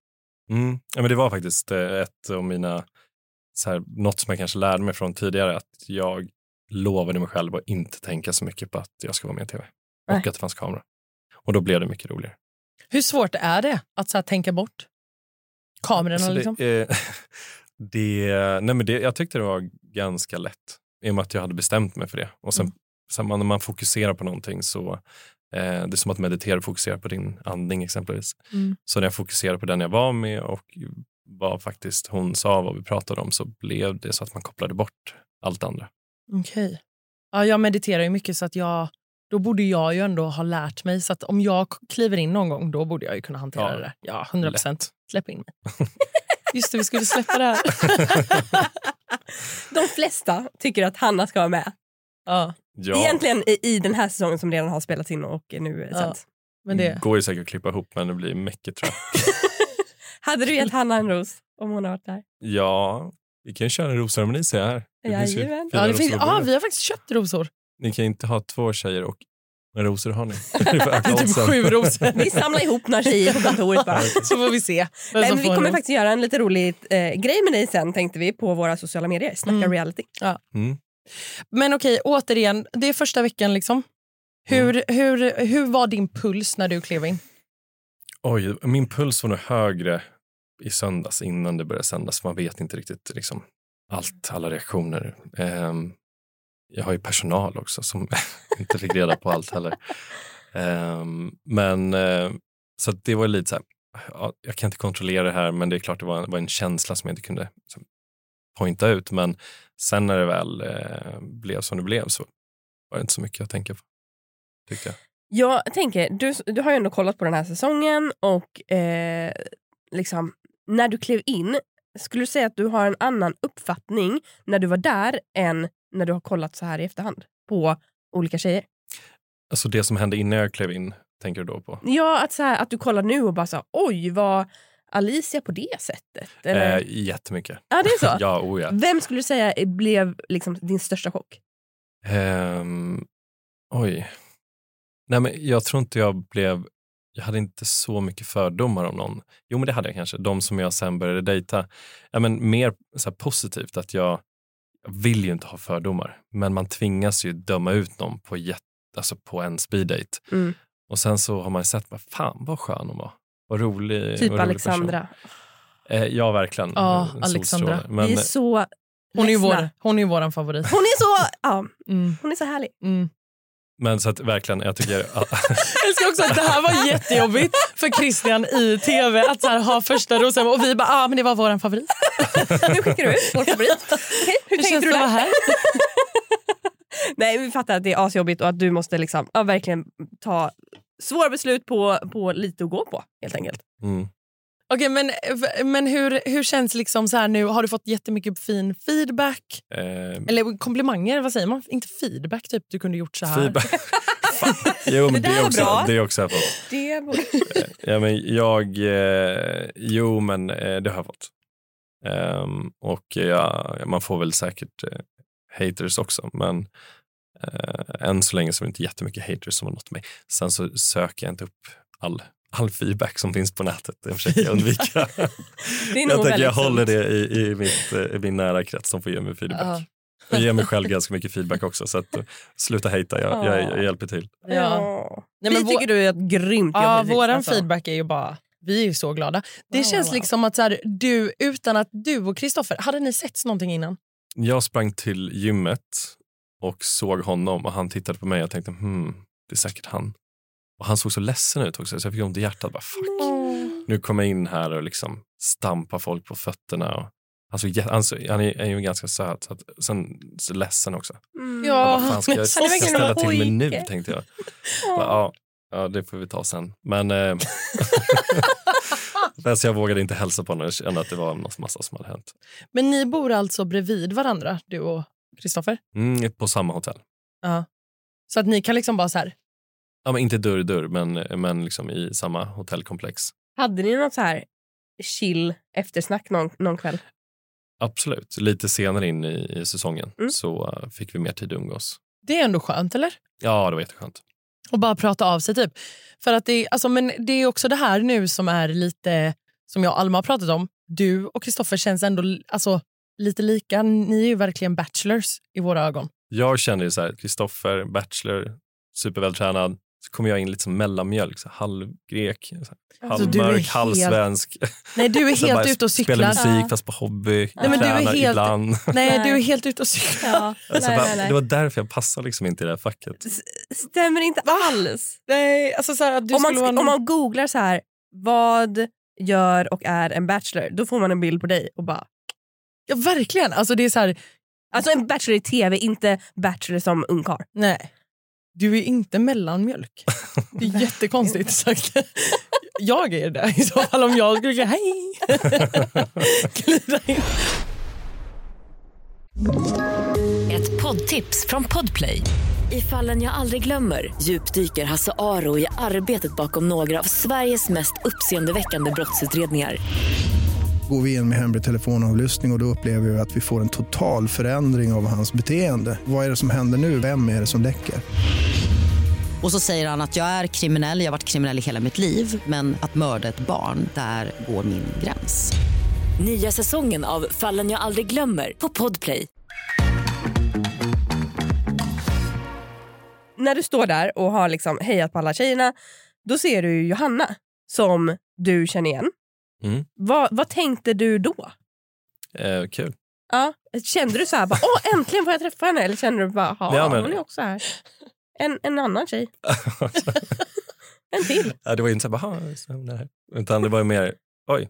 Mm. Ja, men det var faktiskt eh, ett av mina, så här, något som jag kanske lärde mig från tidigare, att jag lovade mig själv att inte tänka så mycket på att jag ska vara med i tv och Nej. att det fanns kamera. Och då blev det mycket roligare. Hur svårt är det att så här, tänka bort kamerorna? Alltså, liksom? det, eh, det, nej men det, jag tyckte det var ganska lätt i och med att jag hade bestämt mig för det. Och sen, Mm. sen man, när man fokuserar på någonting så eh, det är som att meditera och fokusera på din andning exempelvis. Mm. Så när jag fokuserade på den jag var med och vad faktiskt hon sa, vad vi pratade om så blev det så att man kopplade bort allt andra. Okej. Ja, jag mediterar ju mycket så att jag, då borde jag ju ändå ha lärt mig. Så att om jag k- kliver in någon gång, då borde jag ju kunna hantera Ja. det. Ja, 100 procent. Släpp in mig. Just det, vi skulle släppa det här. De flesta tycker att Hanna ska vara med. Ja, Ja, Egentligen i, i den här säsongen som redan har spelats in och nu är Ja. sänds. men Mm. det... går ju säkert att klippa ihop men det blir mycket tror jag. Hade du gett Hanna en ros om hon har varit där? Ja, vi kan ju köra en rosceremoni ser jag här. Det finns ju Jajamän. fina Ja, det finns, rosor på ja, bordet. vi har faktiskt köpt rosor. Ni kan ju inte ha två tjejer och men rosor har ni. Ni får öka Det är typ oddsen. sju rosor. Vi samlar ihop några tjejer på kontoret bara. Så får vi se. vem Nej, men som vi får en kommer ros. faktiskt göra en lite rolig eh, grej med dig sen tänkte vi på våra sociala medier. Snacka Mm. reality. Men okej, återigen, det är första veckan. liksom. Mm. Hur, hur, hur var din puls när du klev in? Oj, min puls var nog högre i söndags innan det började sändas. Man vet inte riktigt liksom, allt, alla reaktioner. Ehm, jag har ju personal också som inte fick reda på allt heller. Ehm, men eh, så att det var lite så här, ja, jag kan inte kontrollera det här, men det är klart det var en, var en känsla som jag inte kunde liksom, pointa ut. Men sen när det väl eh, blev som det blev så var det inte så mycket att tänka på, tyckte jag. Jag tänker, du, du har ju ändå kollat på den här säsongen och eh, liksom, när du klev in, skulle du säga att du har en annan uppfattning när du var där än när du har kollat så här i efterhand på olika tjejer? Alltså det som hände innan jag klev in, tänker du då på? Ja, att, så här, att du kollar nu och bara så här, oj, var Alicia på det sättet? Eller? Eh, jättemycket. ja, det är så. Mm. ja, oh ja. Vem skulle du säga blev liksom din största chock? Ehm, oj. Nej, men jag tror inte jag blev... Jag hade inte så mycket fördomar om någon. Jo, men det hade jag kanske. De som jag sen började dejta. Ja, men mer så här positivt att jag, jag vill ju inte ha fördomar, men man tvingas ju döma ut någon på, jätte, alltså på en speed date. Mm. Och sen så har man ju sett, vad fan vad skön hon var. Vad rolig. Typ vad rolig person. Alexandra. Eh, ja, verkligen. Ja, En solstråle. Alexandra. Men, eh, Vi är så Hon är ju ledsna. vår, hon är ju våran favorit. Hon är så, ja, Mm. hon är så härlig. Mm. men så att verkligen, jag tycker... Jag älskar också att det här var jättejobbigt för Christian i tv att så här, ha första rosen och vi bara ah, men det var våran favorit. Nu skickar du ut vår favorit. Okej, hur Det tänkte känns du att vara där? här. Nej, vi fattar att det är asjobbigt och att du måste liksom, ja, verkligen ta svåra beslut på, på lite att gå på. helt enkelt. Mm. Okej, men, men hur, hur känns liksom så här nu? Har du fått jättemycket fin feedback? Eh, Eller komplimanger, vad säger man? Inte feedback, typ du kunde gjort så här. feedback. Fan. jo, men Det det, där är var också, bra. det är också jag fått. Det Ja, men jag, eh, jo, men eh, det eh, har jag fått. Ehm, och ja, man får väl säkert eh, haters också, men eh, än så länge så är det inte jättemycket haters som har nått mig. Sen så söker jag inte upp all, all feedback som finns på nätet. Det försöker jag undvika. Det är nog jag tänker jag väldigt håller sunt. det i, i, mitt, eh, i min nära krets som får ge mig feedback. Ja. Jag ger mig själv ganska mycket feedback också, så att, eh, sluta hejta, jag, jag, jag hjälper till. Ja. Ja. Nej, men vi tycker vår- du är ett grymt jobb. Ja, hittills, vår alltså. feedback är ju bara... Vi är ju så glada. Det Wow, känns wow. liksom att så här, du, utan att du och Kristoffer... Hade ni sett någonting innan? Jag sprang till gymmet och såg honom och han tittade på mig och tänkte hmm, det är säkert han. Och han såg så ledsen ut också så jag fick ont i hjärtat. Bara, fuck. Nu kommer jag in här och liksom stampar folk på fötterna. Och, han, såg, jä- han, såg, han är, är ju ganska söt, så att, sen så ledsen också. Mm. Ja. Vad fan ska jag, ska Han är jag verkligen ställa till mig pojke. nu tänkte jag. Bara, ja, ja, det får vi ta sen. Men eh, men så jag vågade inte hälsa på honom. Jag kände att det var något massa som hade hänt. Men ni bor alltså bredvid varandra, du och Kristoffer? Mm, på samma hotell. Ja. Så att ni kan liksom bara så här... Ja, men inte dörr i dörr, men, men liksom i samma hotellkomplex. Hade ni något så här chill eftersnack någon, någon kväll? Absolut. Lite senare in i, i säsongen Mm. så eh, fick vi mer tid att umgås. Det är ändå skönt, eller? Ja, det var jätteskönt. Och bara prata av sig. typ. För att det, alltså, men det är också det här nu som är lite, som jag och Alma har pratat om. Du och Kristoffer känns ändå alltså, lite lika. Ni är ju verkligen bachelors i våra ögon. Jag kände ju så här, Kristoffer, bachelor, supervältränad. Så kom jag in lite som mellanmjölk, så här, halvgrek, så här, Alltså, du är halvmörk, helt- halvsvensk. Nej, du är Sen bara helt ute och Spelar cyklar. musik fast på hobby. Nej, Jag men du är tränar helt- ibland. Nej, du är helt ute och cyklar. Alltså, bara, Det var därför jag passade liksom inte i det här facket. Stämmer inte alls. Nej, alltså så här, att du Om man, skulle vara sk- någon- om man googlar så här, vad gör och är en bachelor? Då får man en bild på dig och bara... Ja, verkligen. Alltså, det är så här, Alltså en bachelor i tv, inte bachelor som ungkarl. nej. Du är inte mellanmjölk. Det är jättekonstigt sagt. Jag är det i så fall om jag skulle säga hej. Glida in. Ett poddtips från Podplay. I fallen jag aldrig glömmer djupdyker Hasse Aro i arbetet bakom några av Sveriges mest uppseendeväckande brottsutredningar. Går vi in med hemlig telefonavlyssning och, och då upplever vi att vi får en total förändring av hans beteende. Vad är det som händer nu? Vem är det som läcker? Och så säger han att jag är kriminell, jag har varit kriminell i hela mitt liv men att mörda ett barn, där går min gräns. Nya säsongen av Fallen jag aldrig glömmer på Podplay. När du står där och har liksom hejat på alla tjejerna, då ser du ju Johanna som du känner igen. Mm. Vad, vad tänkte du då? Eh, kul. Ja. Kände du så här, bara, åh äntligen får jag träffa henne? Eller kände du bara, ja, Ja, men- hon är också här. En, en annan tjej. En till. Ja, det var ju inte så här, "Jaha, så hon är här." Utan det var ju mer, oj,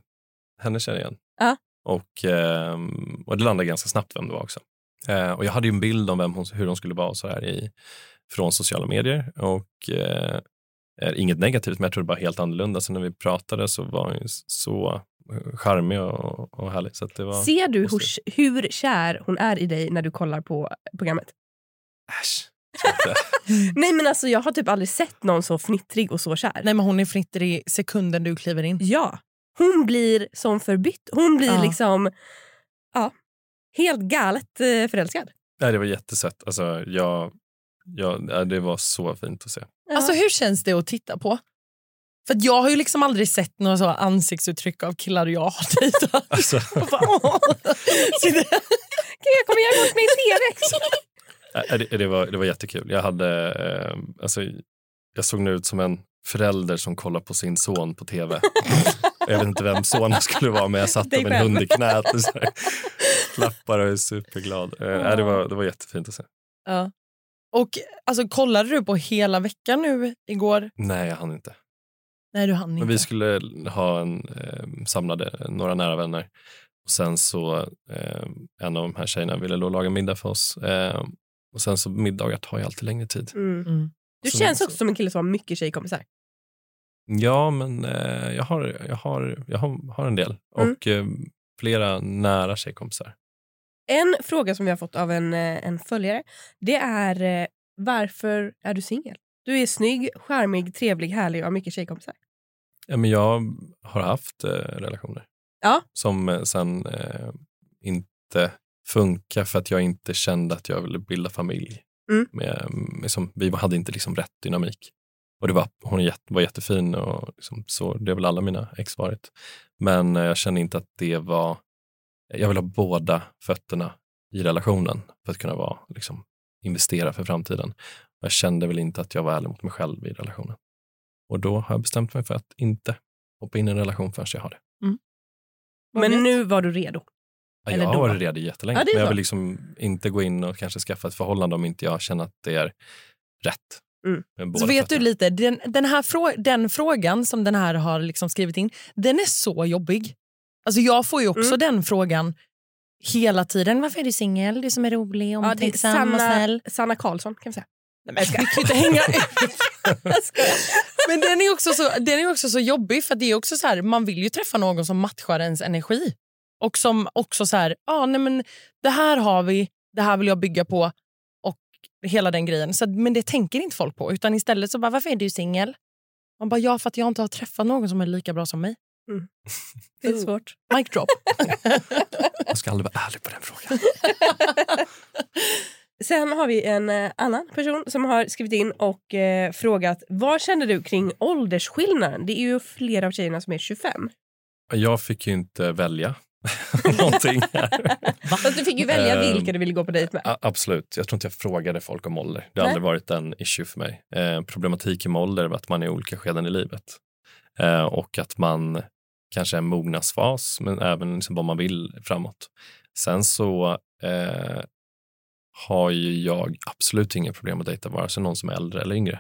henne känner jag igen. Ja. Och, ehm, och det landade ganska snabbt vem det var också. Eh, och jag hade ju en bild om vem hon, hur hon skulle vara och så här i, från sociala medier. Och eh, eh, inget negativt, men jag tror det bara helt annorlunda. Sen när vi pratade så var hon ju så eh, charmig och, och härlig. Så att det var, Ser du hur, positivt. hur kär hon är i dig när du kollar på programmet? äsch. tror jag inte. Nej men alltså jag har typ aldrig sett någon så fnittrig och så kär. Nej, men hon är fnittrig sekunden du kliver in. Ja. Hon blir som förbytt. Hon blir Ja. liksom ja, helt galet eh, förälskad. Nej, det var jättesött. Alltså, jag, jag, ja, det var så fint att se. Alltså hur känns det att titta på? För att jag har ju liksom aldrig sett några så ansiktsuttryck av killar jag har dejtat. Alltså, Och bara, åh. Så det- Gud, jag kommer göra bort mig i tv! Ja, Det, det, var, det var jättekul. Jag, hade, eh, alltså, jag såg nu ut som en förälder som kollar på sin son på tv. jag vet inte vem sonen skulle vara, men jag satte Dig min själv. hund i knät och så här, klappar och är superglad. Eh, ja, det, var, det var jättefint att se. Och alltså, kollade du på hela veckan nu igår? Nej, jag hann inte. Nej, du hann Men inte. vi skulle ha en, eh, samlade några nära vänner. Och sen så eh, en av de här tjejerna ville då laga middag för oss. Eh, och sen så middagar tar ju alltid längre tid. Mm. Du Så- känns också som en kille som har mycket tjejkompisar. Ja, men eh, jag, har, jag, har, jag har, har en del. Mm. Och eh, flera nära tjejkompisar. En fråga som vi har fått av en, eh, en följare det är eh, varför är du singel? Du är snygg, charmig, trevlig, härlig och har mycket tjejkompisar. Ja, men jag har haft eh, relationer. Ja. Som eh, sen eh, inte funkar för att jag inte kände att jag ville bilda familj. Mm. Med, med, som, vi hade inte liksom rätt dynamik. Och det var, hon jätte- var jättefin och liksom, så, det har väl alla mina ex varit. Men eh, jag kände inte att det var, jag vill ha båda fötterna i relationen för att kunna vara, liksom, investera för framtiden. Jag kände väl inte att jag var ärlig mot mig själv i relationen. Och då har jag bestämt mig för att inte hoppa in i en relation förrän jag har det. Men nu var du redo. Ja, Eller jag har då? varit redo jättelänge, Ja, det är men jag bra. vill liksom inte gå in och kanske skaffa ett förhållande om inte jag känner att det är rätt. Mm. Med båda Så vet du fötterna. lite, den, den, här frå, den frågan som den här har liksom skrivit in, den är så jobbig. Alltså jag får ju också Mm. den frågan hela tiden. Varför är du singel? Du som är rolig, Ja, det är omtänksam och Sanna, snäll. Sanna Karlsson kan vi säga. Nej, men jag ska. Du kan ju inte hänga ut. Men den är, också så, den är också så jobbig för att det är också så här, man vill ju träffa någon som matchar ens energi. Och som också så här, ah, nej men det här har vi, det här vill jag bygga på och hela den grejen. Så, att- men det tänker inte folk på utan istället så bara, varför är du singel? Man bara, ja för att jag inte har träffat någon som är lika bra som mig. Det Oh. är svårt. Mic drop. Jag ska aldrig vara ärlig på den frågan. Sen har vi en eh, annan person som har skrivit in och eh, frågat vad kände du kring åldersskillnaden? Det är ju flera av tjejerna som är 25. Jag fick ju inte välja någonting här. Fast du fick ju välja Ehm, vilka du ville gå på dejt med. A- absolut. Jag tror inte jag frågade folk om ålder. Det har Nej. aldrig varit en issue för mig. Eh, problematiken med ålder är att man är i olika skeden i livet. Eh, och att man kanske är en mognadsfas, men även liksom vad man vill framåt. Sen så eh, har ju jag absolut inga problem att dejta vare sig någon som är äldre eller yngre.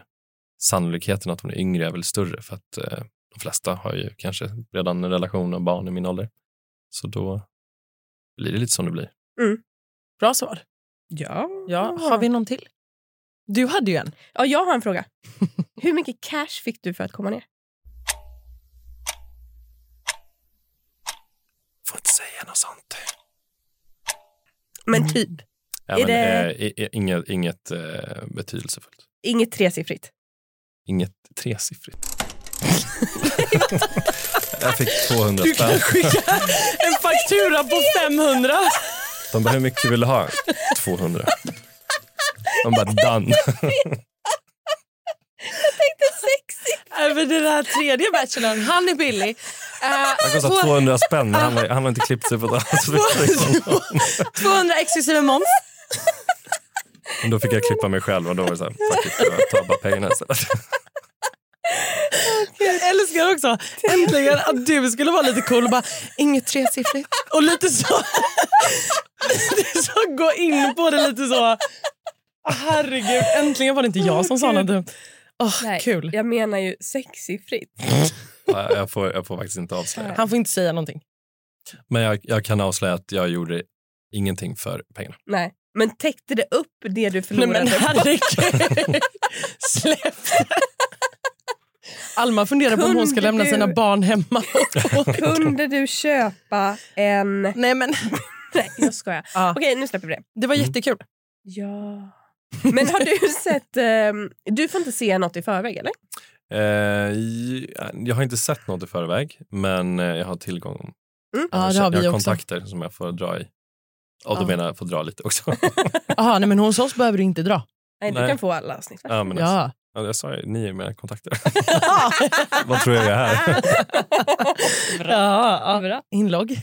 Sannolikheten att hon är yngre är väl större för att eh, de flesta har ju kanske redan en relation och barn i min ålder. Så då blir det lite som det blir. Bra svar. Ja. Ja, Har vi någon till? Du hade ju en. ja, jag har en fråga. Hur mycket cash fick du för att komma ner? Får inte säga något sånt. Men typ, Ja, Är men, det- eh, i- i- inget inget eh, betydelsefullt. inget tresiffrigt. Inget tresiffrigt. jag fick 200 spänn. skicka en faktura på 500. De bara, hur mycket vill du ha? 200. De bara, done. Även den här tredje bachelorn, han är billig. Eh, Han kostar 200 spänn, men han har, han har inte klippt sig på ett annat sätt. 200 exklusive moms. Men Då fick jag klippa mig själv och då var det så här, fuck it, jag tar bara pengarna istället. Jag älskar också äntligen att du skulle vara lite cool och bara inget tresiffrigt. Och lite så, lite så gå in på det lite så. Ah, Herregud, äntligen var det inte jag som sa något dumt. Åh, Nej, kul. Jag menar ju sexsiffrigt. Ja, Jag får, jag får faktiskt inte avslöja. Han får inte säga någonting. Men jag, jag kan avslöja att jag gjorde ingenting för pengarna. Nej. Men täckte det upp det du Nej förlorade? men herregud, släpp det. Alma funderar på om hon ska Kunde lämna du- sina barn hemma. Kunde du köpa en... Nej men Nej, jag skojar. Ja. Okej, nu släpper vi det. Det var Mm. jättekul. Ja. Men har du sett... ehm, du får inte se något i förväg, eller? Eh, j- jag har inte sett något i förväg, men eh, jag har tillgång. Jag Ja, det har jag vi har också. kontakter som jag får dra i. Och då Ja. menar jag får dra lite också. Aha, nej, men hos oss behöver du inte dra. Nej, du Nej. kan få alla avsnitt. ja, men alltså, Ja. ja, jag sa ju, ni är mina kontakter. Vad tror jag jag är här? Ja, Inlogg.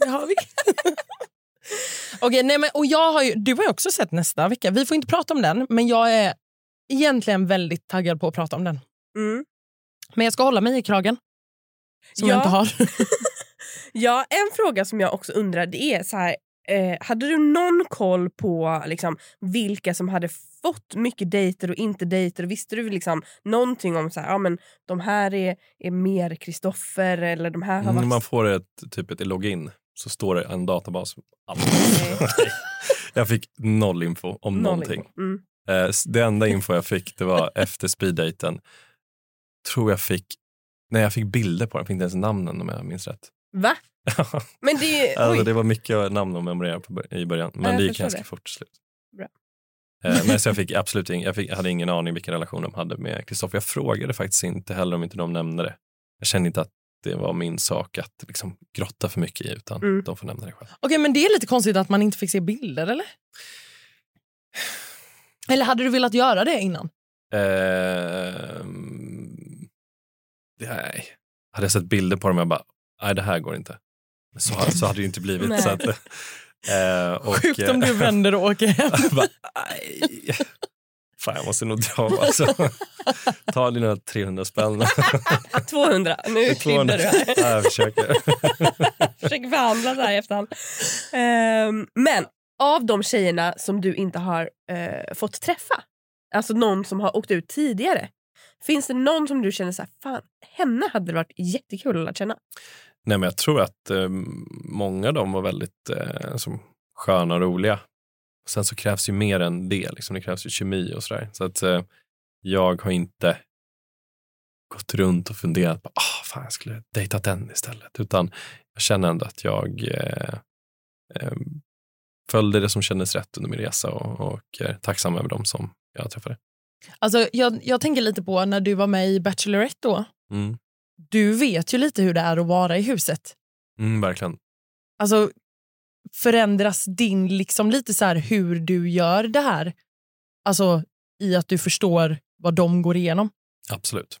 Det har vi. Okej, nej, men, och jag har ju, du har ju också sett nästa vecka. Vi får inte prata om den, men jag är egentligen väldigt taggad på att prata om den. Mm. Men jag ska hålla mig i kragen. Som Ja. jag inte har. Ja, en fråga som jag också undrar det är så här... Eh, hade du någon koll på liksom, vilka som hade fått mycket dejter och inte dejter? Visste du liksom någonting om så här, ja, men de här är, är mer Kristoffer eller de här har varit... Mm, Man får ett, typ ett login, så står det en databas. Allt. jag fick noll info om Noll någonting. info. Mm. Eh, s- det enda info jag fick det var efter speeddaten. Tror jag fick, nej jag fick bilder på den, fick inte ens namnen om jag minns rätt. Va? Men det är ju... Alltså, oj. det var mycket namn att memorera på, i början, men Ja, jag det gick förstår ganska det. fort till slut. Bra. Eh, Men så jag fick absolut ing, jag, fick, jag hade ingen aning vilken relation de hade med Kristoffer. Jag frågade faktiskt inte heller om inte de nämnde det. Jag kände inte att det var min sak att liksom grotta för mycket i utan Mm. de får nämna det själv. Okej, men det är lite konstigt att man inte fick se bilder, eller? Eller hade du velat göra det innan? Ehm, nej. Hade jag sett bilder på dem jag bara, nej det här går inte. Men Så, så hade det ju inte blivit. Nej. så att, eh, och, Sjukt om du vänder och åker hem. bara, "Aj." Fan, jag måste nog dra. Alltså. Ta dina 300 spänn. 200. Nu kryddar du här. Ja, jag försöker. Försöker förhandla så här i efterhand. Ehm, men av de tjejerna som du inte har eh, fått träffa, alltså någon som har åkt ut tidigare finns det någon som du känner så här, fan, henne hade det varit jättekul att lära känna? Nej, men jag tror att eh, många av dem var väldigt eh, som, sköna och roliga. Sen så krävs ju mer än det. Liksom. Det krävs ju kemi och sådär. Så att eh, jag har inte gått runt och funderat på ah, fan jag skulle dejta den istället. Utan jag känner ändå att jag eh, eh, följde det som kändes rätt under min resa och, och är tacksam över dem som jag träffade. Alltså, jag, jag tänker lite på när du var med i Bachelorette då. Mm. Du vet ju lite hur det är att vara i huset. Mm, verkligen. Alltså, förändras din, liksom lite så här hur du gör det här? Alltså i att du förstår vad de går igenom. Absolut.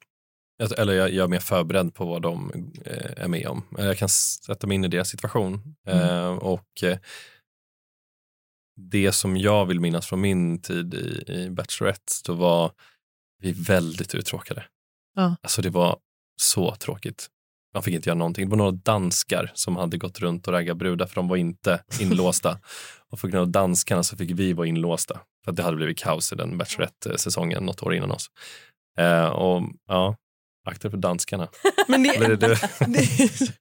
Jag- Eller jag, jag är mer förberedd på vad de eh, är med om. Eller Jag kan sätta mig in i deras situation. Eh, och eh, Det som jag vill minnas från min tid i, i Bachelorette, då var vi väldigt uttråkade. Ja. Alltså det var så tråkigt. Man fick inte göra någonting. Det var några danskar som hade gått runt och raggat brudar för de var inte inlåsta. och för grund av danskarna så fick vi vara inlåsta. För att det hade blivit kaos i den Bachelorette-säsongen något år innan oss. Eh, och ja, akta dig för danskarna. Men det, Eller är det,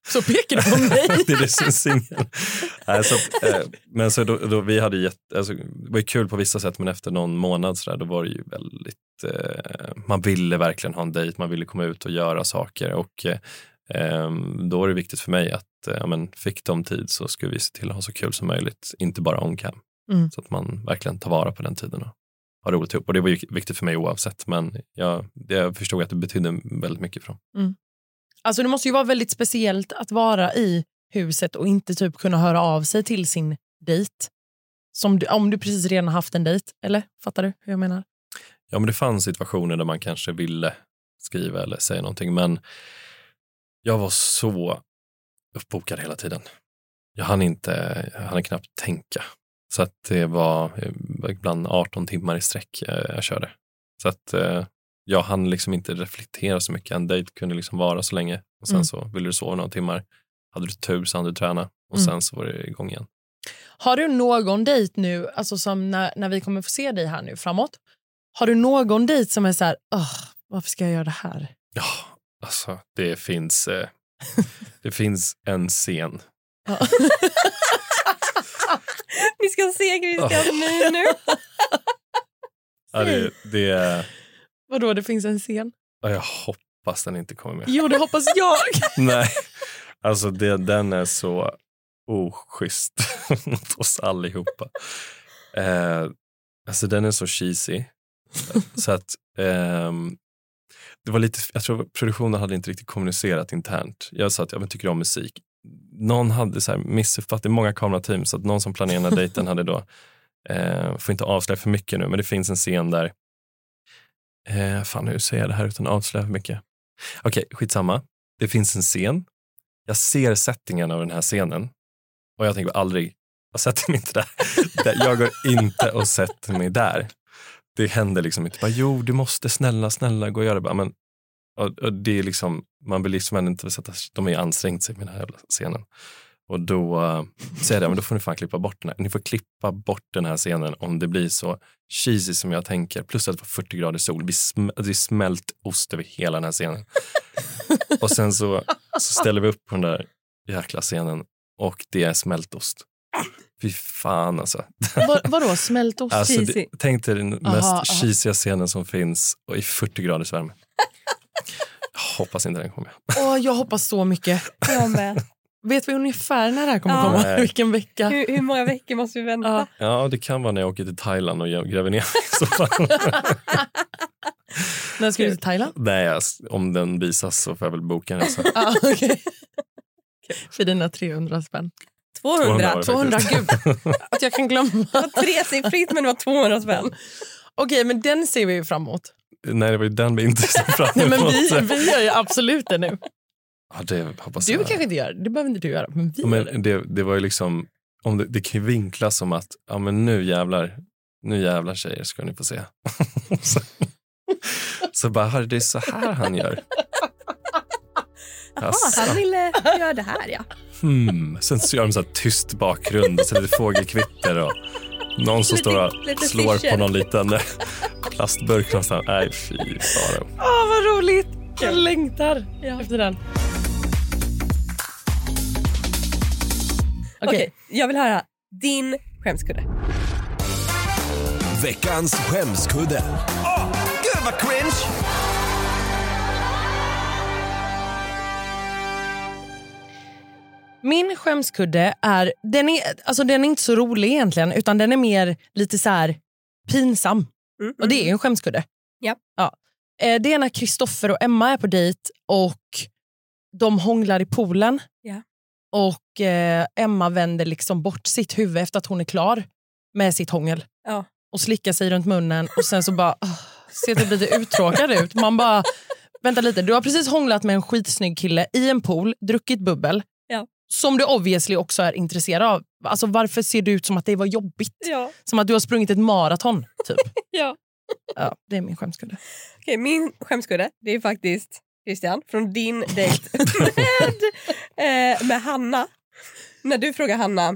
så pekar du på mig. det är det som är singeln. Nej, så, eh, men så då, då vi hade gett, alltså, det var ju kul på vissa sätt men efter någon månad så där, då var det ju väldigt, eh, man ville verkligen ha en dejt, man ville komma ut och göra saker och eh, ehm, då är det viktigt för mig att eh, ja, men, fick de tid så skulle vi se till att ha så kul som möjligt, inte bara on cam. Mm. Så att man verkligen tar vara på den tiden och har roligt ihop. Och det var ju viktigt för mig oavsett men jag, jag förstod att det betydde väldigt mycket för dem. Alltså det måste ju vara väldigt speciellt att vara i huset och inte typ kunna höra av sig till sin dejt. Som du, om du precis redan har haft en dejt, eller? Fattar du hur jag menar? Ja, men det fanns situationer där man kanske ville skriva eller säga någonting, men jag var så uppbokad hela tiden. Jag hann inte, jag hann knappt tänka. Så att det var eh, ibland 18 timmar i sträck eh, jag körde. Så att eh, jag hann liksom inte reflektera så mycket. En dejt kunde liksom vara så länge och sen Mm. så ville du sova några timmar. Hade du tur så hann du träna och Mm. sen så var det igång igen. Har du någon dejt nu, alltså som när, när vi kommer få se dig här nu framåt, har du någon dejt som är så här, "Åh, varför ska jag göra det här? Ja, alltså det finns, eh, det finns en scen Ni ska se Christian nu. nu. Ja, det, det, Vadå, det finns en scen? ja, jag hoppas den inte kommer med. Jo, det hoppas jag. Nej, alltså det, den är så oschysst mot oss allihopa. Eh, alltså den är så cheesy. Så att, ehm, det var lite, jag tror produktionen hade inte riktigt kommunicerat internt. Jag sa att jag tycker om musik. Någon hade så här missuppfattat, det är många kamerateam, så att någon som planerar den här dejten hade då, eh, får inte avslöja för mycket nu, men det finns en scen där, eh, fan hur säger jag det här utan att avslöja för mycket? Okej, skitsamma. Det finns en scen, jag ser settingen av den här scenen och jag tänker aldrig, jag sätter mig inte där. Jag går inte och sätter mig där det händer liksom inte. Bara, jo, du måste snälla, snälla gå och göra det. Bara, men, och, och det är liksom, man vill liksom ändå inte sätta, de har ju ansträngt sig med den här jävla scenen. Och då eh, säger jag, men då får ni fan klippa bort den här. Ni får klippa bort den här scenen om det blir så cheesy som jag tänker. Plus att det var 40 grader sol. Vi sm- det är smält ost över hela den här scenen. och sen så, så ställer vi upp på den där jäkla scenen och det är smältost. Fy fan alltså. Vad- vadå, smält ost? Alltså, Cheesy. det, tänk dig den mest aha. cheesiga scenen som finns och i 40 graders värme. Jag hoppas inte den kommer. Åh, jag hoppas så mycket. Jag med. Vet vi ungefär när det här kommer Ja. komma? Nej. Vilken vecka? Hur, hur många veckor måste vi vänta? Ja. Ja, det kan vara när jag åker till Thailand och jag gräver ner mig i så fall. När ska du till Thailand? Nej, jag- om den visas så får jag väl boka en resa. Ah, okej. För dina 300 spänn. 200. var det 200, faktiskt. gud. Att jag kan glömma. Tresiffrigt, men det var 200 spänn. Okej, men den ser vi ju framåt. Nej, det var ju den vi inte såg fram Nej, men emot. vi, vi gör ju absolut det nu. Alltså. Ja, det hoppas Du jag. kanske inte gör det, det behöver inte du göra. Men vi Ja, gör det. Men det, det var ju liksom, om det, det kan ju vinklas som att ja, men nu jävlar, nu jävlar tjejer ska ni få se. så, så bara, "Hörru, det är så här han gör. Jaså. Han ville göra det här, ja. Hmm. Sen så gör de så här tyst bakgrund och så lite fågelkvitter och någon som Lite- står och lite slår fischer. på någon liten eh, plastburk någonstans. Nej, fy faro. Åh, vad roligt! Jag längtar efter den. Okej. Okej, jag vill höra din skämskudde. Mm, Veckans skämskudde. Åh, gud vad cringe! Min skämskudde är, den är, alltså den är inte så rolig egentligen utan den är mer lite så här pinsam. mm. Och det är ju en skämskudde. Ja. Ja. Eh, Det är när Kristoffer och Emma är på dejt och de hånglar i poolen. Ja. Och eh, Emma vänder liksom bort sitt huvud efter att hon är klar med sitt hångel. Ja. Och slickar sig runt munnen och sen så bara ah, ser typ lite uttråkad ut. Man bara, vänta lite, du har precis hånglat med en skitsnygg kille i en pool, druckit bubbel. Ja. Som du obviously också är intresserad av. Alltså varför ser det ut som att det var jobbigt? Ja. Som att du har sprungit ett maraton, typ. Ja. ja. Det är min skämskudde. Okej, min skämskudde det är faktiskt Christian från din dejt med, eh, med Hanna. När du frågar Hanna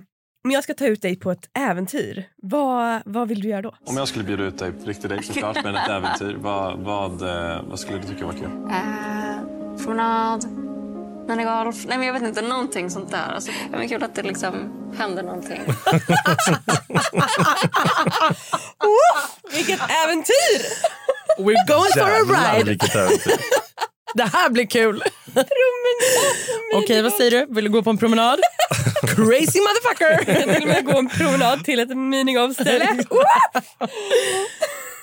om jag ska ta ut dig på ett äventyr, vad, vad vill du göra då? Om jag skulle bjuda ut dig på riktig dejt såklart, men ett äventyr. Vad, vad, eh, vad skulle du tycka var kul? Eh, promenad, minigolf. Nej, men jag vet inte. Någonting sånt där. Alltså, det är kul att det liksom händer någonting. Vilket äventyr! We're going for a Jävlar ride! vilket äventyr. Det här blir kul! Okej, vad säger du? Vill du gå på en promenad? Crazy motherfucker! Till och med gå en promenad till ett minigolfställe.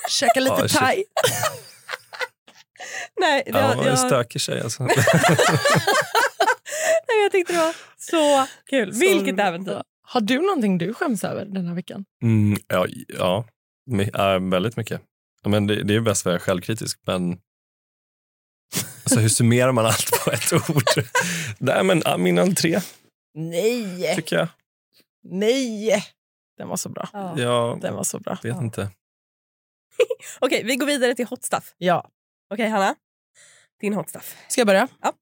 Käka lite Ah, shit. thai. Nej, det, Ja, jag, vad en jag, stökig tjej alltså. nej, jag tyckte det var så kul. Vilket äventyr! Har du någonting du skäms över den här veckan? Mm, ja, ja My, ja, väldigt mycket. Ja, Men det, det är ju bäst för jag är självkritisk, men alltså, hur summerar man allt på ett ord? Nej, men ja, min entré Nej! tycker jag. Nej! Den var så bra. Jag Den var så bra. vet inte. Okej, vi går vidare till hot stuff. Ja. Okej, Hanna? Din hot stuff. Ska jag börja? Ja.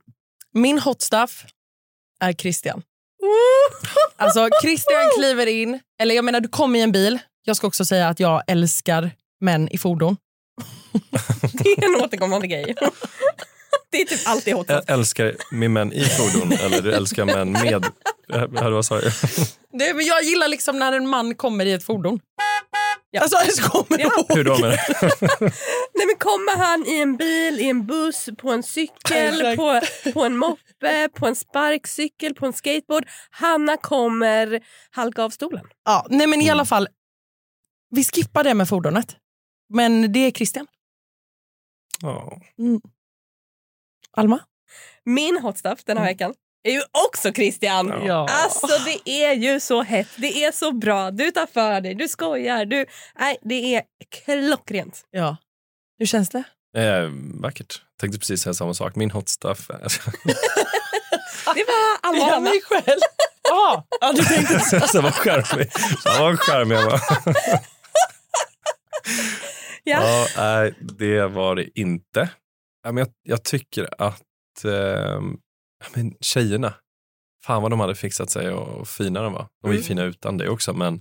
Min hot stuff är Christian. Alltså Christian kliver in, eller jag menar du kom i en bil. Jag ska också säga att jag älskar män i fordon. Det är en återkommande grej. Det är typ alltid hot stuff. Jag älskar min män i fordon, eller du älskar män med... Ja, Vad sa jag? Nej, men jag gillar liksom när en man kommer i ett fordon. Alltså, jag kommer Ja. Hur då med det? Nej men kommer han i en bil, i en buss, på en cykel, Exakt. på, på en moppe, på en sparkcykel, på en skateboard. Hanna kommer halka av stolen. Ja, nej, men i alla fall. Vi skippar det med fordonet. Men det är Christian. Ja. Alma? Min hot stuff den här veckan är ju också Christian. Mm. Ja. Alltså det är ju så hett, det är så bra. Du tar för dig, du skojar. Du... Nej, det är klockrent. Ja. Hur känns det? Eh, vackert. Tänkte precis säga samma sak. Min hot stuff. är- Det var alla Ja, Hanna. mig själv. Ja, ja, du tänkte så. Så vad charmig. Ja, vad charmig jag var. Ja. Ja, nej, det var det inte. Ja, men jag, jag tycker att eh, ja, men tjejerna, fan vad de hade fixat sig och, och fina de var. De var Mm. ju fina utan det också, men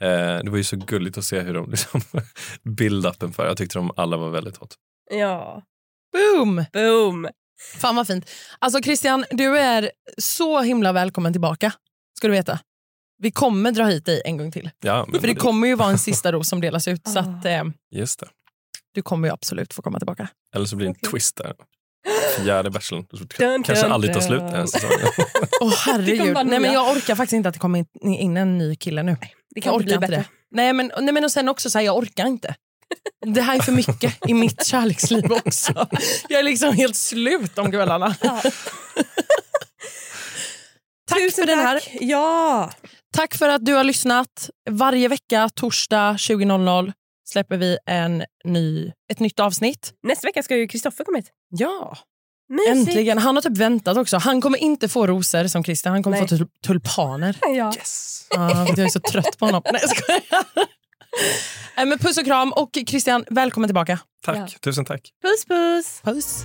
eh, det var ju så gulligt att se hur de liksom build-upen för. Jag tyckte de alla var väldigt hot. ja. Boom! Boom. Fan vad fint. Alltså Christian, du är så himla välkommen tillbaka. Ska du veta. Vi kommer dra hit dig en gång till. Ja, men För det kommer ju vara en sista ros som delas ut. Så att, eh, Just det. du kommer ju absolut få komma tillbaka. Eller så blir det en twist där. Fjärde bachelorn. Dun, Kanske dun, aldrig tar slut den dun. här säsongen. Åh kommer herregud. bara Nej, men nya. jag orkar faktiskt inte att det kommer in- in en ny kille nu. Det jag kan inte bli bättre. det. Nej men, nej, men och sen också så här, jag orkar inte. Det här är för mycket i mitt kärleksliv också. Jag är liksom helt slut om kvällarna. Tack för den här. Ja. Tack för att du har lyssnat. Varje vecka, torsdag 20.00, släpper vi en ny, ett nytt avsnitt. Nästa vecka ska ju Kristoffer komma hit. Ja. Mysigt. Äntligen. Han har typ väntat också. Han kommer inte få rosor som Christian, han kommer Nej. få tul- tulpaner. Ja. Yes. Ja, jag är så trött på honom. Nej, jag skojar. Nej, Men puss och kram. Och Christian, välkommen tillbaka. Tack, tusen tack. Puss, puss. Puss.